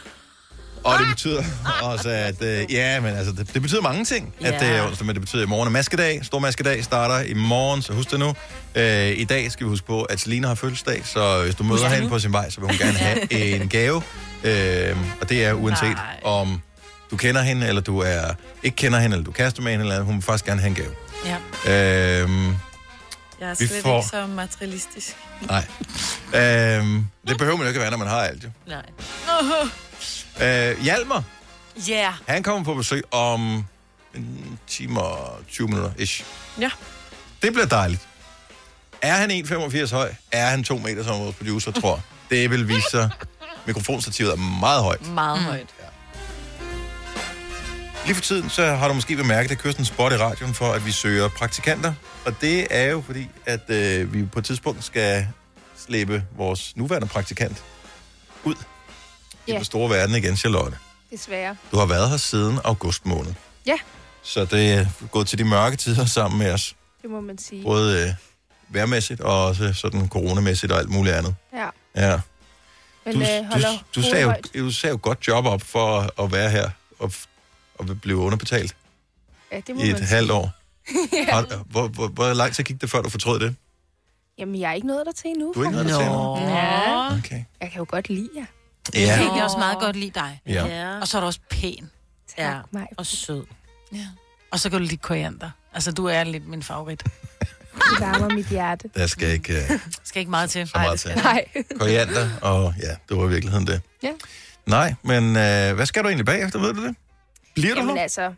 S1: Og det betyder også, at... Øh, ja, men altså, det, det betyder mange ting, at det er
S12: Ja.
S1: onsdag, men det betyder, at i morgen er maskedag. Stor maskedag starter i morgen, så husk det nu. Øh, I dag skal vi huske på, at Selina har fødselsdag, så hvis du møder
S12: det
S1: hende
S12: nu.
S1: på sin vej, så vil hun gerne
S12: [laughs]
S1: have en gave. Øh, og det er uanset Nej. om du kender hende, eller du er ikke kender hende, eller du er kærester med hende, eller hun vil faktisk gerne have en gave.
S4: Ja.
S1: Øh,
S4: Jeg er
S1: Vi
S4: slet
S1: får-
S4: ikke så materialistisk.
S1: nej. Øh, det behøver man jo ikke at være, når man har alt. Jo.
S4: Nej.
S1: Øh, Hjalmar,
S4: Ja.
S1: han kommer på besøg om en time og 20 minutter, ish.
S4: Ja.
S1: Det bliver dejligt. Er han 1,85 høj? Er han 2 meter, som vores producer tror? Det vil vise sig. Mikrofonstativet er meget højt.
S4: Meget mm. højt.
S1: Lige for tiden, så har du måske bemærket, at der kører sådan en spot i radioen for, at vi søger praktikanter. Og det er jo fordi, at øh, vi på et tidspunkt skal slæbe vores nuværende praktikant ud i
S13: Ja,
S1: den store verden igen, Charlotte.
S13: desværre.
S1: Du har været her siden august måned.
S13: Ja,
S1: Så det er gået til de mørke tider sammen med os.
S13: det må man sige.
S1: Både øh, værmæssigt og også sådan coronamæssigt og alt muligt andet.
S13: Ja.
S1: Ja.
S13: Men
S1: Du,
S13: øh,
S1: du,
S13: holder
S1: du,
S13: hovedet
S1: sagde jo,
S13: højt.
S1: du sagde jo godt job op for at, at være her og, f- og blive underbetalt
S13: Ja, det må
S1: i
S13: man
S1: et
S13: sige.
S1: halvt år.
S13: [laughs] ja.
S1: Har, hvor, hvor, hvor lang tid gik det, før du fortrød det?
S13: Jamen, jeg er ikke nået der til endnu.
S1: Du er ikke nået dertil endnu?
S13: faktisk. Ja.
S1: Okay.
S13: Jeg kan jo godt lide jer.
S1: Ja. Jeg kan
S3: egentlig også meget godt lide dig.
S1: Ja.
S3: Og så er du også pæn.
S2: Ja.
S3: Og sød. Ja. Og så kan du lide koriander. Altså, du er lidt min favorit.
S13: Det varmer mit hjerte.
S1: Der skal ikke uh,
S3: Skal ikke meget til.
S1: så meget til.
S13: Nej.
S1: Koriander, og ja, det var i virkeligheden det.
S13: Ja.
S1: Nej, men øh, hvad skal du egentlig bagefter, ved du det? Bliver du
S13: Jamen
S1: her?
S13: altså,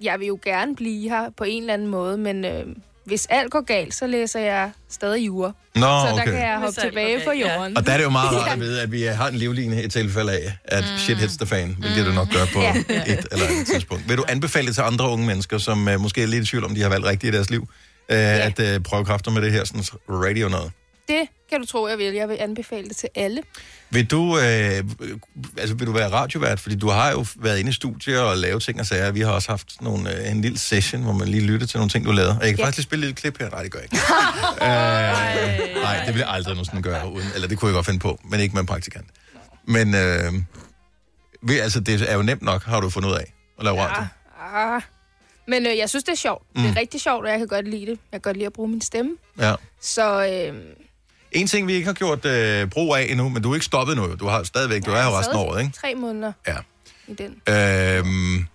S13: jeg vil jo gerne blive her på en eller anden måde, men øh, hvis alt går galt, så læser jeg stadig jure.
S1: Nå,
S13: så der
S1: okay.
S13: kan jeg hoppe
S4: Hvis alt går
S13: tilbage
S4: galt,
S13: på
S4: ja.
S13: jorden.
S1: Og der er det jo meget rart at vide, at vi har en livline i tilfælde af, at mm. shit hits the fan, hvilket det nok gør på
S13: Ja.
S1: et eller andet tidspunkt. Vil du anbefale det til andre unge mennesker, som uh, måske er lidt i tvivl om, de har valgt rigtigt i deres liv, uh, at uh, prøve kræfter med det her sådan radio noget?
S13: Det kan du tro, jeg vil. Jeg vil anbefale det til alle.
S1: Vil du, øh, altså vil du være radiovært? Fordi du har jo været inde i studier og lavet ting og sager. Vi har også haft sådan nogle, øh, en lille session, hvor man lige lytter til nogle ting, du lavede. Og jeg kan
S13: Ja.
S1: faktisk lige spille et lille klip her. Nej, det gør jeg ikke. øh, nej, det vil jeg aldrig nogensinde gøre. Uden, eller det kunne jeg godt finde på, men ikke med en praktikant. Men øh, vi, altså, det er jo nemt nok, har du fundet ud af at lave ja. radio.
S13: Ah. Men øh, jeg synes, det er sjovt. Mm. Det
S1: Mm.
S13: er rigtig sjovt, og jeg kan godt lide det. Jeg kan godt lide at bruge min stemme.
S1: Ja.
S13: Så øh,
S1: En ting, vi ikke har gjort øh, brug af endnu, men du er ikke stoppet nu. jo. Du har stadigvæk, du er her resten af året, ikke?
S13: tre måneder
S1: Ja.
S13: i den.
S1: Øhm,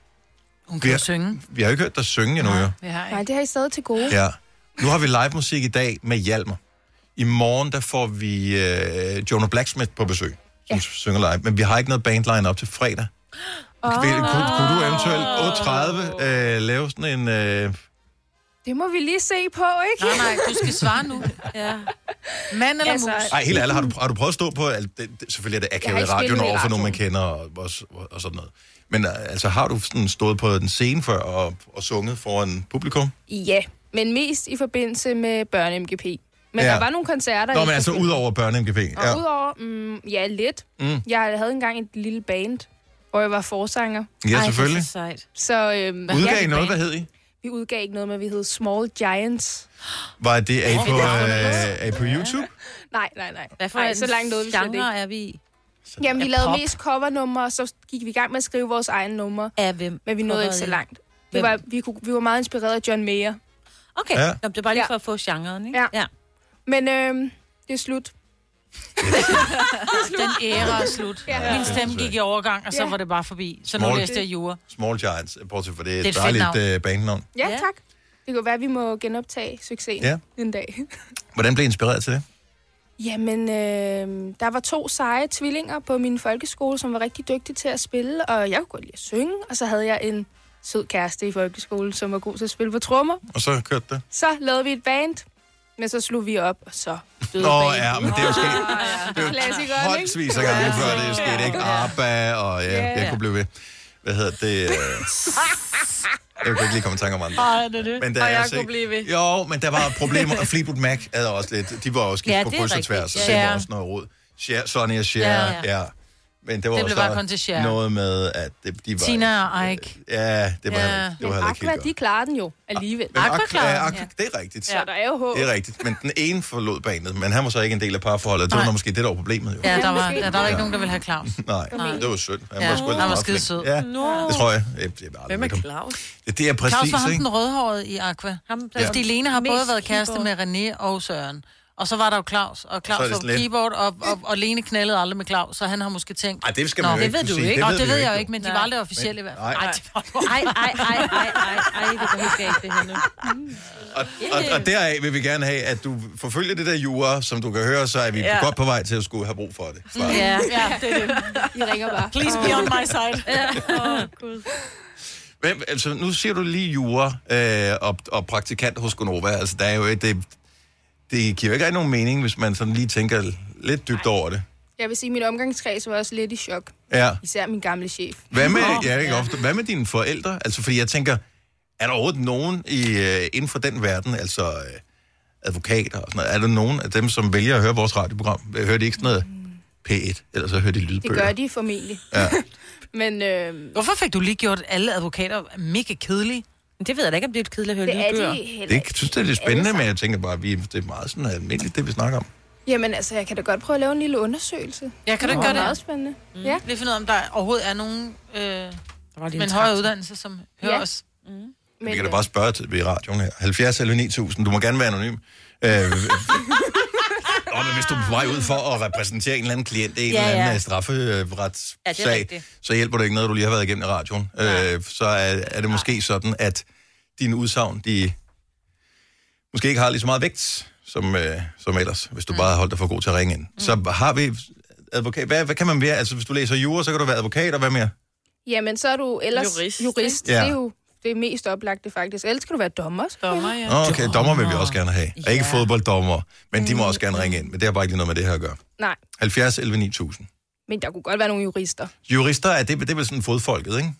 S3: Hun
S1: kan vi har,
S3: synge.
S1: Vi har jo ikke hørt dig synge endnu, jo.
S13: Nej, det har I stadig til gode.
S1: Ja. Nu har vi live musik i dag med Hjalmar. I morgen, der får vi øh, Jonah Blacksmith på besøg, som ja. synger live. Men vi har ikke noget bandline op til fredag. Oh. Kunne, kunne
S13: Ah.
S1: du eventuelt 8.30 øh, lave sådan en... Øh,
S13: Det må vi lige se på, ikke?
S3: Nej, nej, du skal svare nu.
S13: ja.
S3: Mand eller
S13: Altså,
S3: mus?
S1: ej,
S3: [laughs]
S1: helt ærligt, har du, har du prøvet at stå på... Altså, det, det, selvfølgelig er det
S13: Jeg har
S1: akavet i
S13: ikke spillet i
S1: radioen over for nogen, man
S13: radioen.
S1: kender og, og, og sådan noget. Men øh, altså, har du sådan stået på den scene før og, og sunget foran publikum?
S13: Ja, men mest i forbindelse med børne-MGP. Men
S1: Ja.
S13: der var nogle koncerter.
S1: Nå,
S13: i
S1: men altså ud over børne-MGP.
S13: Og ja. udover, mm, ja, lidt.
S1: Mm.
S13: Mm. Jeg havde engang et lille band, hvor jeg var forsanger.
S1: Ja, Ej, selvfølgelig. det er så
S13: sejt. Så, øhm,
S1: Udgav I noget, hvad hed I?
S13: Vi udgav ikke noget, men vi hed Small Giants.
S1: Var det, er I
S13: Åh,
S1: på,
S13: det
S1: øh,
S13: er
S1: er I på YouTube?
S13: Nej, nej, nej.
S2: Hvad for
S13: nej,
S2: en
S13: så langt nåede vi slet ikke.
S2: genre er vi i?
S13: Jamen, vi
S2: Ja,
S13: lavede
S2: pop.
S13: mest covernumre, og så gik vi i gang med at skrive vores egne numre.
S2: Af hvem?
S13: Men vi nåede ikke
S2: Coverede
S13: så
S2: I?
S13: langt.
S2: Hvem?
S13: Det var, vi, kunne, vi var meget inspireret af John Mayer.
S2: Okay,
S13: Ja.
S2: ja. Nå, det er bare lige for at få genren, ikke?
S13: Ja. ja. Men øhm, det er slut.
S3: Den æra er slut.
S13: Ja.
S3: Min stemme gik i overgang, og så var det bare forbi. Så nu
S1: Small-
S3: læste jeg jure.
S1: Small Giants, bortset for det,
S3: Det er et
S1: det
S3: fedt
S1: er et
S3: navn.
S1: dejligt uh, bandnavn.
S13: Ja, ja, tak. Det kunne være, at vi må genoptage succesen
S1: Ja.
S13: ja. en dag. [laughs]
S1: Hvordan blev I inspireret til det?
S13: Jamen, øh, der var to seje tvillinger på min folkeskole, som var rigtig dygtige til at spille, og jeg kunne godt lide at synge, og så havde jeg en sød kæreste i folkeskolen, som var god til at spille på trommer.
S1: Og så kørte det.
S13: Så lavede vi et band, Men så slog vi op, og så døde
S1: Nå
S13: banen.
S1: ja, men det er jo sket
S13: Det er jo klassikeren, ikke?
S1: håndsvis af gange før, det er sket, ikke? ABBA, og ja,
S13: Ja.
S1: jeg kunne blive ved. Hvad hedder
S3: [laughs]
S1: det? øh, [laughs] Jeg kan ikke lige komme i tanke om andre.
S3: Ej, det er det.
S1: Men der
S3: Og
S1: er
S3: jeg
S1: altså
S3: kunne
S1: ikke-
S3: blive ved.
S1: Jo, men der var problemer, og Fleetwood Mac havde også lidt... De var også gift
S3: Ja,
S1: ja, på
S3: det er
S1: kryds og
S3: rigtigt.
S1: tværs, og det
S3: Ja.
S1: var også noget rod. Cher, Sonny og Cher,
S3: Ja,
S1: ja.
S3: ja.
S1: ja. Men det var
S3: Det
S1: også
S3: blev bare
S1: der
S3: kun til Cher.
S1: noget med, at det, de var...
S3: Tina og Ike.
S1: Ja, det var,
S3: Ja.
S1: ja. Det var heller ikke
S13: Aqua,
S1: helt godt.
S13: de klarer den jo alligevel.
S1: Men Aqua- ja, Aqua- det er rigtigt.
S13: Så der er jo håb.
S1: Det er rigtigt, men den ene forlod banet, men han var så ikke en del af parforholdet. Det var
S3: Nej.
S1: nok måske det, der var problemet, jo.
S3: Ja, der var, der, der var ikke nogen, der ville have Claus.
S1: [laughs] Nej,
S3: Nej.
S1: det var synd. Han
S3: Ja.
S1: var, sgu
S3: Han
S1: lidt
S3: var
S1: meget
S3: skide
S1: flink.
S3: sød.
S1: Ja,
S3: Nå.
S1: det tror jeg. jeg, jeg, jeg Hvem er
S4: Claus?
S1: Det er
S3: Claus
S1: præcis,
S3: var ham
S1: ikke?
S3: den rødhårede i Aqua. Ham,
S1: Ja.
S3: Fordi Lene har
S2: Mest
S3: både været kæreste med
S2: keyboard.
S3: René og Søren. Og så var der jo Claus, og
S1: Så er
S3: Claus
S1: det
S3: var
S1: sådan lidt-
S3: keyboard, og, og, og Lene knaldede aldrig med Claus, så han har måske tænkt...
S1: Ej, det skal man
S3: Nå,
S1: jo ikke kunne
S3: Nå,
S1: sige. Det
S3: det,
S1: ved vi
S3: ved
S1: jo
S3: jeg jo
S1: ikke.
S3: ikke, men de
S1: Nej.
S3: var aldrig officielle i hvert fald.
S1: Nej.
S3: Ej, det var
S2: Ej, ej, ej, ej, ej, ej, det går helt galt, det her nu.
S1: Og, og, og deraf vil vi gerne have, at du forfølger det der jura, som du kan høre, så er vi
S2: Ja.
S1: ja. godt på vej til at skulle have brug for det.
S3: Mm.
S1: Svaret.
S2: Ja,
S3: ja, det er det.
S13: I ringer bare.
S3: Please be on my side.
S2: Ja.
S1: Hvem, altså, nu siger du lige jura øh, og, og praktikant hos Gonova. Altså, der er jo, et- det, det giver jo ikke rigtig nogen mening, hvis man sådan lige tænker lidt dybt over det.
S13: Jeg vil sige, at min omgangskreds var også lidt i chok.
S1: Ja.
S13: Især min gamle chef.
S1: Hvad med, ja, ikke ofte, hvad med dine forældre? Altså, fordi jeg tænker, er der overhovedet nogen i, øh, inden for den verden, altså øh, advokater og sådan noget, er der nogen af dem, som vælger at høre vores radioprogram? Øh, Hører de ikke sådan noget P1, eller så hører de lydbøger?
S13: Det gør de formentlig.
S1: Ja.
S13: [laughs] Men øh,
S3: Hvorfor fik du lige gjort alle advokater mega kedelige?
S2: Det ved jeg da ikke, om det er et kedeligt at høre
S13: det er
S2: lydbøger.
S13: de heller
S1: Det, jeg synes, det er lidt spændende, men jeg tænker bare, at vi, det er meget sådan almindeligt, det vi snakker om.
S13: Jamen altså, jeg kan da godt prøve at lave en lille undersøgelse.
S3: Ja, kan du ikke gøre det?
S13: meget spændende. Mm. Ja.
S3: Lige finde ud af, om der overhovedet er nogen øh, med en
S2: en Mm.
S3: højere uddannelse, som hører
S13: Ja.
S3: os.
S1: Men, vi
S13: Men,
S1: kan da
S13: øh,
S1: bare spørge til ved radioen her. 70 eller 9000, du må gerne være anonym.
S2: [laughs]
S1: Øh, og men hvis du er på vej ud for at repræsentere en eller anden klient i en
S2: Ja,
S1: eller anden øh,
S2: ja.
S1: ja. strafferetssag,
S2: Ja, det er rigtigt.
S1: så hjælper det ikke noget, du lige har været igennem i radioen. Øh, så er, er det måske sådan, at dine udsagn, de måske ikke har lige så meget vægt, som, øh, som ellers, hvis du
S4: Mm.
S1: bare har holdt dig for god til at ringe ind. Mm. Så har vi advokat. Hvad, hvad kan man være? Altså, hvis du læser jura, så kan du være advokat, og hvad mere?
S13: Jamen, så er du ellers
S4: Jurist,
S13: jurist.
S4: ikke?
S13: jurist.
S1: Ja.
S13: Ja. Det er jo det mest oplagte, faktisk. Ellers skal du være dommer.
S4: Dommer, ja.
S1: Nå, okay, dommer vil vi også gerne have. Og ikke fodbolddommer, men de må også
S4: Mm.
S1: gerne ringe ind. Men det har bare ikke lige noget med det her at gøre.
S13: Nej,
S1: 70 11 9000.
S13: men der kunne godt være nogle jurister.
S1: Jurister, er det, det er vel sådan fodfolket, ikke?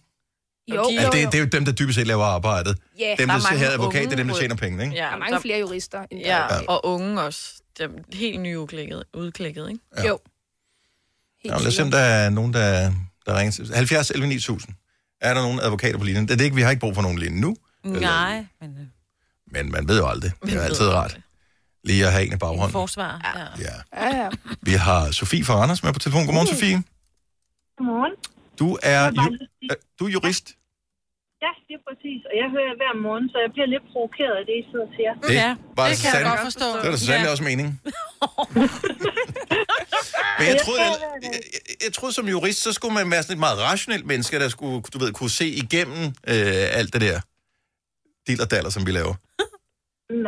S4: de-
S13: Jo, jo,
S1: Altså, det,
S13: jo.
S1: det er jo dem, der dybest set laver arbejdet.
S13: Ja,
S1: Dem,
S4: der
S1: der
S4: er mange
S1: sidder advokat, det er dem, der
S4: unge
S1: tjener penge, ikke?
S13: der er mange flere jurister. End der
S4: Ja,
S13: er advokater.
S4: og unge også. Dem, helt nyudklækket, udklækket, ikke?
S1: Ja.
S13: Jo. Helt
S1: Nå, lad os se, om
S13: sikkert.
S1: der er nogen, der, der ringer til. 70 11 9000. Er der nogen advokater på linjen? Det er det ikke, vi har ikke brug for nogen lige
S2: [laughs]
S1: nu.
S2: Nej, men øh,
S1: Men man ved jo aldrig. Det er altid rart. Lige at have en i
S2: en
S1: baghånden.
S2: forsvar. Ja.
S1: Ja.
S13: Ja, ja.
S1: Vi har Sofie fra Anders med på telefon. Godmorgen, Sofie.
S12: Godmorgen.
S1: Du er,
S12: bare
S1: ju- øh, du er jurist.
S12: Ja, det er præcis. Og jeg hører jer hver morgen, så jeg bliver lidt provokeret af det, I sidder og siger.
S3: Ja,
S1: var
S3: det kan jeg
S1: sand-
S3: godt forstå.
S1: Det var da sandelig
S3: Ja.
S1: også
S3: [laughs]
S1: meningen. Men jeg troede, jeg, jeg, jeg troede som jurist, så skulle man være sådan et meget rationelt menneske, der skulle, du ved, kunne se igennem øh, alt det der dill og daller, som vi laver.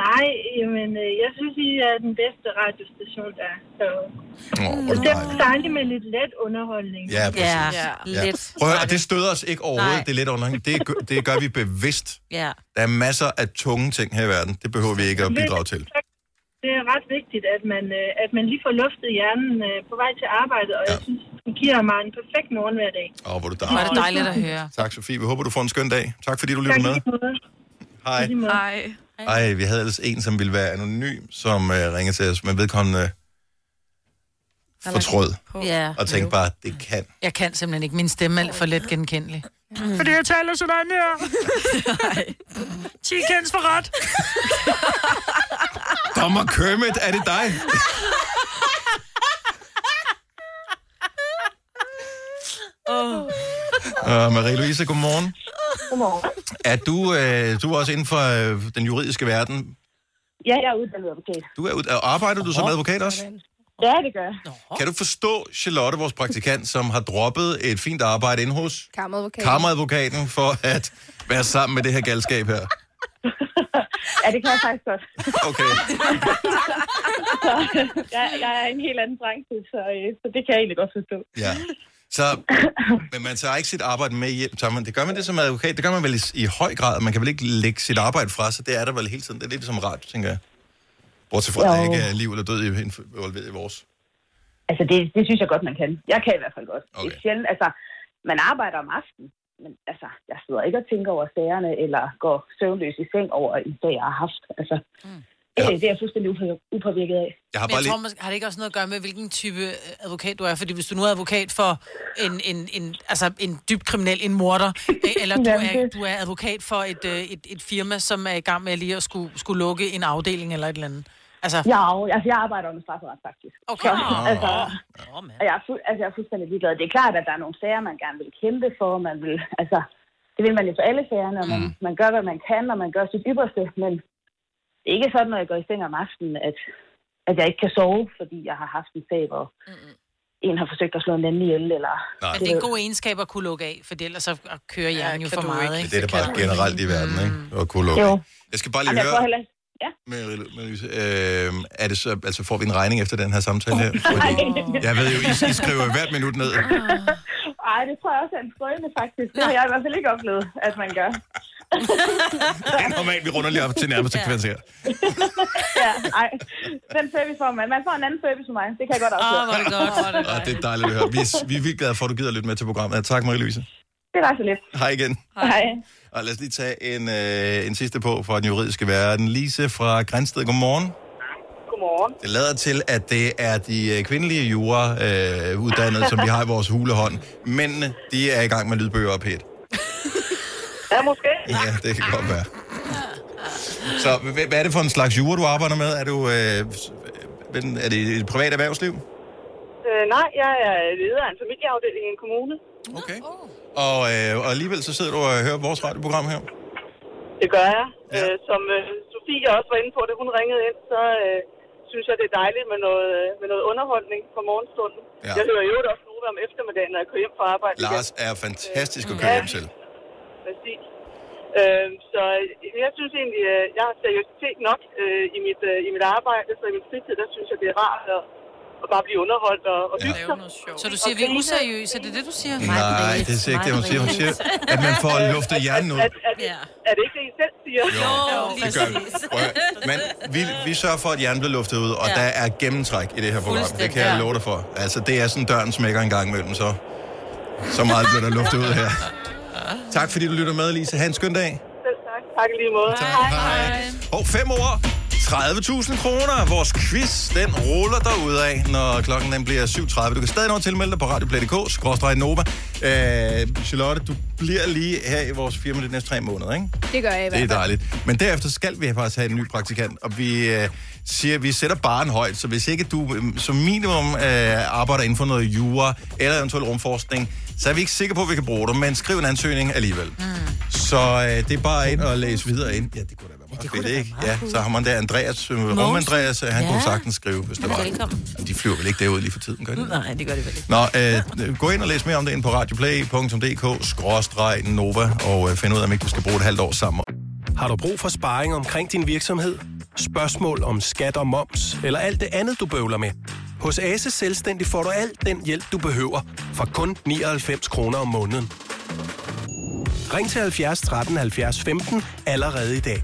S12: Nej, men jeg synes, I er den bedste radiostation, der er. Så
S1: Åh, hvor er
S12: det
S1: det
S12: er
S1: dejligt.
S12: dejligt med lidt let underholdning.
S1: Ja,
S2: Ja,
S1: præcis.
S4: Ja.
S1: Ja.
S2: lidt.
S1: Prøv at, høre, og det støder os ikke overhovedet,
S2: Nej.
S1: det er lidt underholdning. Det, gør- det gør vi bevidst.
S2: Ja.
S1: Der er masser af tunge ting her i verden. Det behøver vi ikke at bidrage til.
S12: Det er ret vigtigt, at man, øh, at man lige får luftet hjernen øh, på vej til arbejde, og ja. jeg synes, den giver mig en perfekt morgen hver dag.
S1: Åh, hvor er du
S3: Var
S1: dejlig.
S3: det dejligt at høre.
S1: Tak, Sofie. Vi håber, du får en skøn dag. Tak fordi du
S12: Tak
S1: lytter med.
S12: i lige måde.
S1: Hej.
S12: I lige måde.
S4: Ej.
S1: Ej, vi havde ellers en, som ville være anonym, som øh, ringede til os, men vedkommende øh, fortrød
S2: Ja.
S1: og tænkte bare, det kan.
S3: Jeg kan simpelthen ikke. Min stemme er alt for let genkendelig.
S13: Mm.
S8: Fordi jeg taler sådan
S2: [laughs]
S8: her. Chickens for ret.
S1: Dommer Kermit, er det dig? Oh. Uh, Marie-Louise, godmorgen.
S12: Godmorgen.
S1: Er du, øh, du er også inden for øh, den juridiske verden.
S12: Ja, jeg er uddannet advokat.
S1: Du er, ud- arbejder du som advokat også?
S12: Ja, det gør jeg.
S1: Kan du forstå Charlotte, vores praktikant, som har droppet et fint arbejde inde hos
S13: Kammeradvokat.
S1: kammeradvokaten for at være sammen med det her galskab her?
S12: Ja, det kan jeg faktisk godt.
S1: Okay.
S12: Så, jeg, jeg er i en helt anden branche, så, øh, så det kan jeg egentlig godt forstå.
S1: Ja. Så, men man tager ikke sit arbejde med hjem. Tager man, det gør man det som advokat, det gør man vel i, i høj grad. Man kan vel ikke lægge sit arbejde fra sig. Det er der vel hele tiden. Det er lidt som radio, tænker jeg. Bortset fra, at der
S14: Jo.
S1: ikke er liv eller død i- involveret i vores.
S14: Altså, det, det synes jeg godt, man kan. Jeg kan i hvert fald godt. Okay. Det er sjældent, altså, man arbejder om aftenen, men altså, jeg sidder ikke og tænker over sagerne, eller går søvnløs i seng over en sag, jeg har haft. Altså, mm. det, det er jeg fuldstændig upå- upåvirket af.
S1: Jeg har
S3: Men jeg tror, måske, har det ikke også noget at gøre med, hvilken type øh, advokat du er? Fordi hvis du nu er advokat for en, en, en, altså en dybt kriminel, en morder, øh, eller du
S14: [laughs] Jamen,
S3: er,
S14: det-
S3: du er advokat for et, øh, et, et firma, som er i gang med lige at skulle, skulle lukke en afdeling eller et eller andet. Altså,
S14: Ja, og- altså, jeg arbejder under strafferet, faktisk.
S3: Okay. Ah.
S14: Så, altså, og jeg, er fu- altså, jeg er fuldstændig ligeglad. Det er klart, at der er nogle sager, man gerne vil kæmpe for. Man vil, altså, det vil man jo for alle sagerne, og man, mm. man gør, hvad man kan, og man gør sit ypperste. Men det er ikke sådan, når jeg går i seng om aftenen, at, at jeg ikke kan sove, fordi jeg har haft en sag, hvor mm. en har forsøgt at slå en anden ihjel. Eller,
S3: men
S14: altså-
S3: det er en god egenskab at kunne lukke af, for ellers så kører hjernen ja, jo for meget. Ikke?
S1: Men det er da bare generelt i verden, ikke? Og kunne lukke. Jeg skal bare lige
S14: Altså,
S3: Jamen, jeg får
S1: høre, Marie- Marie-Louise, øh, er det så, altså får vi en regning efter den her samtale her?
S14: Nej.
S1: Jeg ved jo, I, I
S12: [laughs]
S1: skriver hvert minut ned.
S14: Ej, det tror jeg også er en skrøne, faktisk. Det har jeg i hvert fald ikke oplevet, at man gør.
S1: Det er normalt, vi runder lige op til nærmeste sekvens her.
S14: ja, ej. Den service får man. Man får en anden service for mig. Det kan jeg godt afsløre.
S3: Åh, Ah, hvor er det godt. Hvor er det
S1: Og det er dejligt at høre. Vi er, vi er vildt glade for, at du gider lytte med til programmet. Tak, Marie-Louise.
S14: Det var så lidt.
S1: Hej igen.
S14: Hej.
S1: Og lad os lige tage en, øh, en sidste på fra den juridiske verden. Lise fra Grænsted, godmorgen.
S15: Godmorgen.
S1: Det lader til, at det er de øh, kvindelige jurauddannede, øh, uddannede, som vi har i vores hulehånd. Mændene, de er i gang med lydbøger og pæt.
S15: Ja, måske.
S1: Ja, det kan godt være. Så h- h- hvad er det for en slags jura, du arbejder med? Er, du, øh, s- øh, den- er det et privat erhvervsliv?
S15: Øh, nej, jeg er leder af en familieafdeling i en kommune.
S1: Okay. Og, øh, og alligevel så sidder du og hører vores radioprogram her.
S15: Det gør jeg. Ja. Øh, som øh, Sofie også var inde på, da hun ringede ind, så øh, synes jeg, det er dejligt med noget, øh, med noget underholdning på morgenstunden.
S1: Ja.
S15: Ja. Jeg hører jo også nu om eftermiddagen, når jeg kører hjem fra arbejde. igen.
S1: Lars er fantastisk at køre
S15: Ja.
S1: hjem til.
S15: Præcis. Øhm, så jeg synes egentlig, øh, jeg har seriøsitet nok øh, i, mit, øh, i mit arbejde, så i min fritid, der synes jeg, det er rart at, at bare blive underholdt og, og hygge sig.
S3: Så du siger,
S15: Og
S3: vi er
S15: grine.
S3: useriøse, er det det, du siger?
S1: Nej, det siger ikke det, hun siger. Hun siger, at man
S3: [laughs]
S1: får luftet hjernen ud.
S15: Er, er, det, er det ikke det, I selv siger?
S1: Jo, det gør vi. Prøv at høre. Men vi, vi sørger for, at hjernen bliver luftet ud, og
S15: Ja.
S1: ja. der er gennemtræk i det her program. Det kan
S15: Fuldstændig,
S1: jeg
S15: ja.
S1: love dig for. Altså, det er sådan, døren smækker en gang imellem, så, så meget bliver der luftet ud her. Tak fordi du lytter med, Lise. Ha' en skøn dag.
S15: Selv tak. Tak i lige måde. Hej. Hej.
S1: Og fem år. 30.000 kroner. Vores quiz, den ruller der af, når klokken den bliver 7.30. Du kan stadig nå at tilmelde dig på radioplay.dk, skråstrej Nova. Øh, Charlotte, du bliver lige her i vores firma de næste tre måneder, ikke?
S13: Det gør jeg i hvert
S1: Det er
S13: fald.
S1: dejligt. Men derefter skal vi faktisk have en ny praktikant, og vi øh, siger, at vi sætter baren højt, så hvis ikke du øh, som minimum øh, arbejder inden for noget jura eller eventuel rumforskning, så er vi ikke sikre på, at vi kan bruge dig, men skriv en ansøgning alligevel. Mm. Så øh, det er bare ind og læse videre ind. Ja, det kunne da være meget fedt, ikke? Ja, så har man der Andreas, øh, Rum Andreas, øh, han
S2: Ja.
S1: kunne sagtens skrive, hvis det
S2: Han er
S1: var.
S2: velkommen.
S1: De flyver vel ikke derud lige for tiden, gør de?
S2: [laughs] Nej, det gør det vel ikke.
S1: Nå, øh, gå ind og læs mere om det ind på radioplay.dk-nova og øh, find ud af, om ikke du skal bruge et halvt år sammen.
S8: Har du brug for sparring omkring din virksomhed? Spørgsmål om skat og moms, eller alt det andet, du bøvler med? Hos Ase Selvstændig får du alt den hjælp, du behøver, for kun 99 kroner om måneden. Ring til 70 13 70 15 allerede i dag.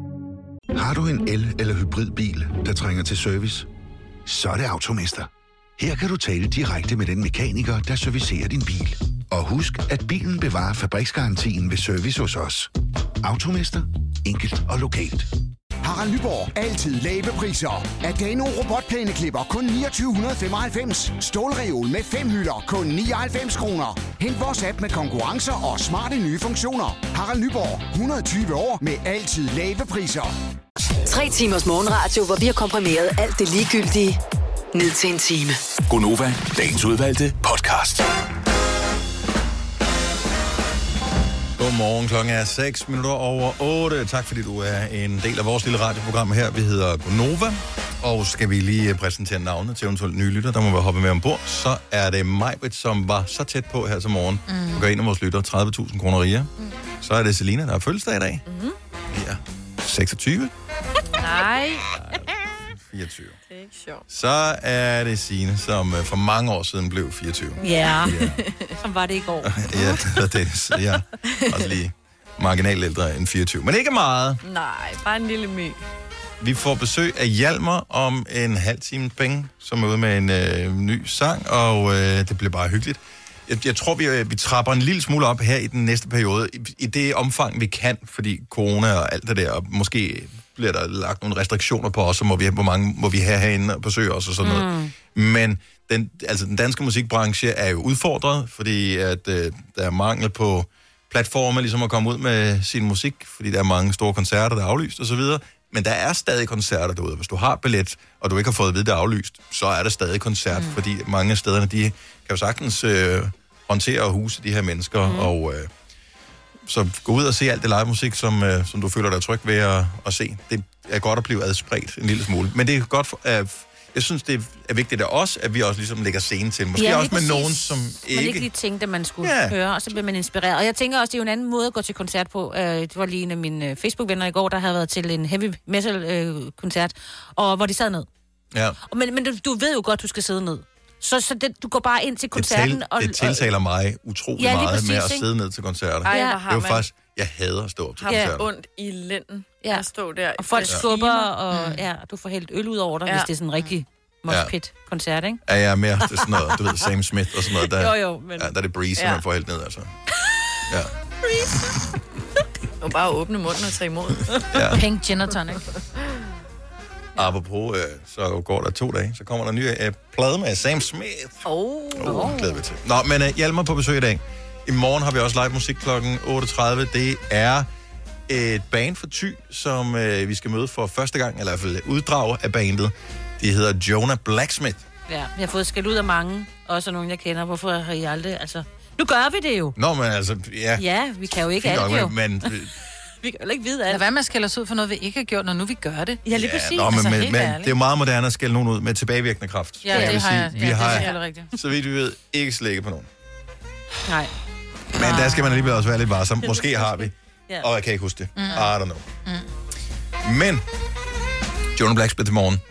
S10: Har du en el- eller hybridbil, der trænger til service? Så er det Automester. Her kan du tale direkte med den mekaniker, der servicerer din bil. Og husk, at bilen bevarer fabriksgarantien ved service hos os. Automester. Enkelt og lokalt.
S11: Harald Nyborg. Altid lave priser. Adano robotplæneklipper kun 2995. Stålreol med fem hylder kun 99 kroner. Hent vores app med konkurrencer og smarte nye funktioner. Harald Nyborg. 120 år med altid lave priser.
S6: Tre timers morgenradio, hvor vi har komprimeret alt det ligegyldige ned til en time.
S9: Gonova, dagens udvalgte podcast.
S1: Godmorgen, klokken er 6 minutter over 8. Tak fordi du er en del af vores lille radioprogram her. Vi hedder Gonova, Og skal vi lige øh, præsentere navnet til eventuelt nye lytter, der må være hoppet med ombord, så er det Majbrit, som var så tæt på her til morgen.
S16: Mm.
S1: Mm. Du gør en af vores lytter 30.000 kroner rigere. Mm. Så er det Selina, der har fødselsdag i dag. Mm.
S4: Mhm.
S1: Ja, 26,
S4: [laughs] Nej.
S1: 24.
S4: Det er ikke sjovt.
S1: Så er det Sine, som øh, for mange år siden blev 24.
S2: Ja, som var det i går.
S1: Ja, det er Dennis. Ja, også lige marginalt ældre end 24. Men ikke meget.
S4: Nej, bare en lille my.
S1: Vi får besøg af Hjalmar om en halv time penge, som er ude med en øh, ny sang, og øh, det bliver bare hyggeligt. Jeg, jeg tror, vi, øh, vi trapper en lille smule op her i den næste periode, i, i det omfang, vi kan, fordi corona og alt det der, og måske bliver der lagt nogle restriktioner på os, og må vi, hvor mange må vi have herinde og besøge os og sådan noget. Men den, altså den danske musikbranche er jo udfordret, fordi at, øh, der er mangel på platforme ligesom at komme ud med sin musik, fordi der er mange store koncerter, der er aflyst og så videre. Men der er stadig koncerter derude. Hvis du har billet, og du ikke har fået at vide, det er aflyst, så er der stadig koncert, mm. fordi mange af stederne, de kan jo sagtens øh, håndtere og huse de her mennesker,
S2: Mhm.
S1: mm. og øh, så gå ud og se alt det live musik, som, øh, som du føler dig tryg ved at, at se. Det er godt at blive adspredt en lille smule. Men det er godt, for, øh, jeg synes, det er vigtigt af os, at vi også ligesom lægger scenen til. Måske
S2: Ja,
S1: ja,
S2: lige
S1: også med
S2: præcis.
S1: nogen, som
S2: Man
S1: ikke...
S2: ikke lige tænkte, at man skulle
S1: Ja.
S2: yeah. høre, og så bliver man inspireret. Og jeg tænker også, det er jo en anden måde at gå til koncert på. Øh, Det var lige en af mine øh, Facebook-venner i går, der havde været til en heavy metal-koncert, og hvor de sad ned.
S1: Ja.
S2: Og Men, men du, du ved jo godt, du skal sidde ned. Så, så det, du går bare ind til
S1: Det,
S2: koncerten
S1: til,
S2: og...
S1: det tiltaler mig utrolig
S2: Ja,
S1: ja,
S2: lige
S1: meget
S2: præcis,
S1: med at
S2: ikke?
S1: sidde ned til koncerter.
S4: Ej, hvor
S1: det
S4: har
S1: er jo
S4: man-
S1: faktisk... Jeg hader at stå op til
S4: Har
S1: koncerter.
S4: yeah. ondt i lænden ja. at stå der.
S2: Og folk
S4: i flere
S2: skubber,
S4: timer.
S2: og
S1: Mm.
S2: ja, du får helt øl ud over dig,
S4: Ja.
S2: ja. hvis det er sådan en rigtig moshpit-koncert, ikke?
S1: Ja, jeg er mere til sådan noget, du ved,
S2: [laughs]
S1: Sam Smith og sådan noget. Der,
S2: Jo, jo, men-
S1: ja, der er det breeze,
S4: Ja.
S1: ja. man får helt ned,
S4: [laughs]
S1: altså. Ja.
S4: Og bare åbne munden og tage imod.
S1: Ja.
S3: Pink gin og tonic.
S1: Apropos, øh, så går der to dage, så kommer der en ny øh, plade med Sam Smith.
S4: Oh.
S1: Oh, glæder vi til. Nå, men uh, Hjalmar på besøg i dag. I morgen har vi også live musik kl. 8.30. Det er et band for Thy, som uh, vi skal møde for første gang, eller i hvert fald uddrag af bandet. De hedder Jonah Blacksmith.
S2: Ja, jeg har fået skæld ud af mange, også nogen, jeg kender. Hvorfor har I aldrig... Altså, nu gør vi det
S3: Uh.
S2: jo.
S1: Nå, men altså, ja.
S2: Ja, vi kan jo ikke
S1: fint
S2: alt
S1: nok,
S2: jo.
S1: Men, øh, men,
S2: Vi kan jo ikke vide alt.
S3: Lad være med at skælde os ud for noget, vi ikke har gjort, når nu vi gør det.
S2: Ja, lige præcis.
S1: nå, men,
S3: Altså,
S1: men,
S3: helt
S1: men
S3: ærligt.
S1: det er jo meget moderne at skælde nogen ud med tilbagevirkende kraft.
S3: Ja, det
S1: vil
S3: har
S1: sige,
S3: jeg- ja,
S1: vi
S3: det er
S1: har,
S3: selvfølgelig rigtigt.
S1: så vidt vi ved, ikke slække på nogen.
S2: Nej.
S1: Men der skal man alligevel også være lidt varsom. Måske har vi.
S2: Ja.
S1: Og jeg kan ikke huske det.
S2: Mm.
S1: Mm. I don't know. Mm. Men, Jonah Blacksmith i morgen.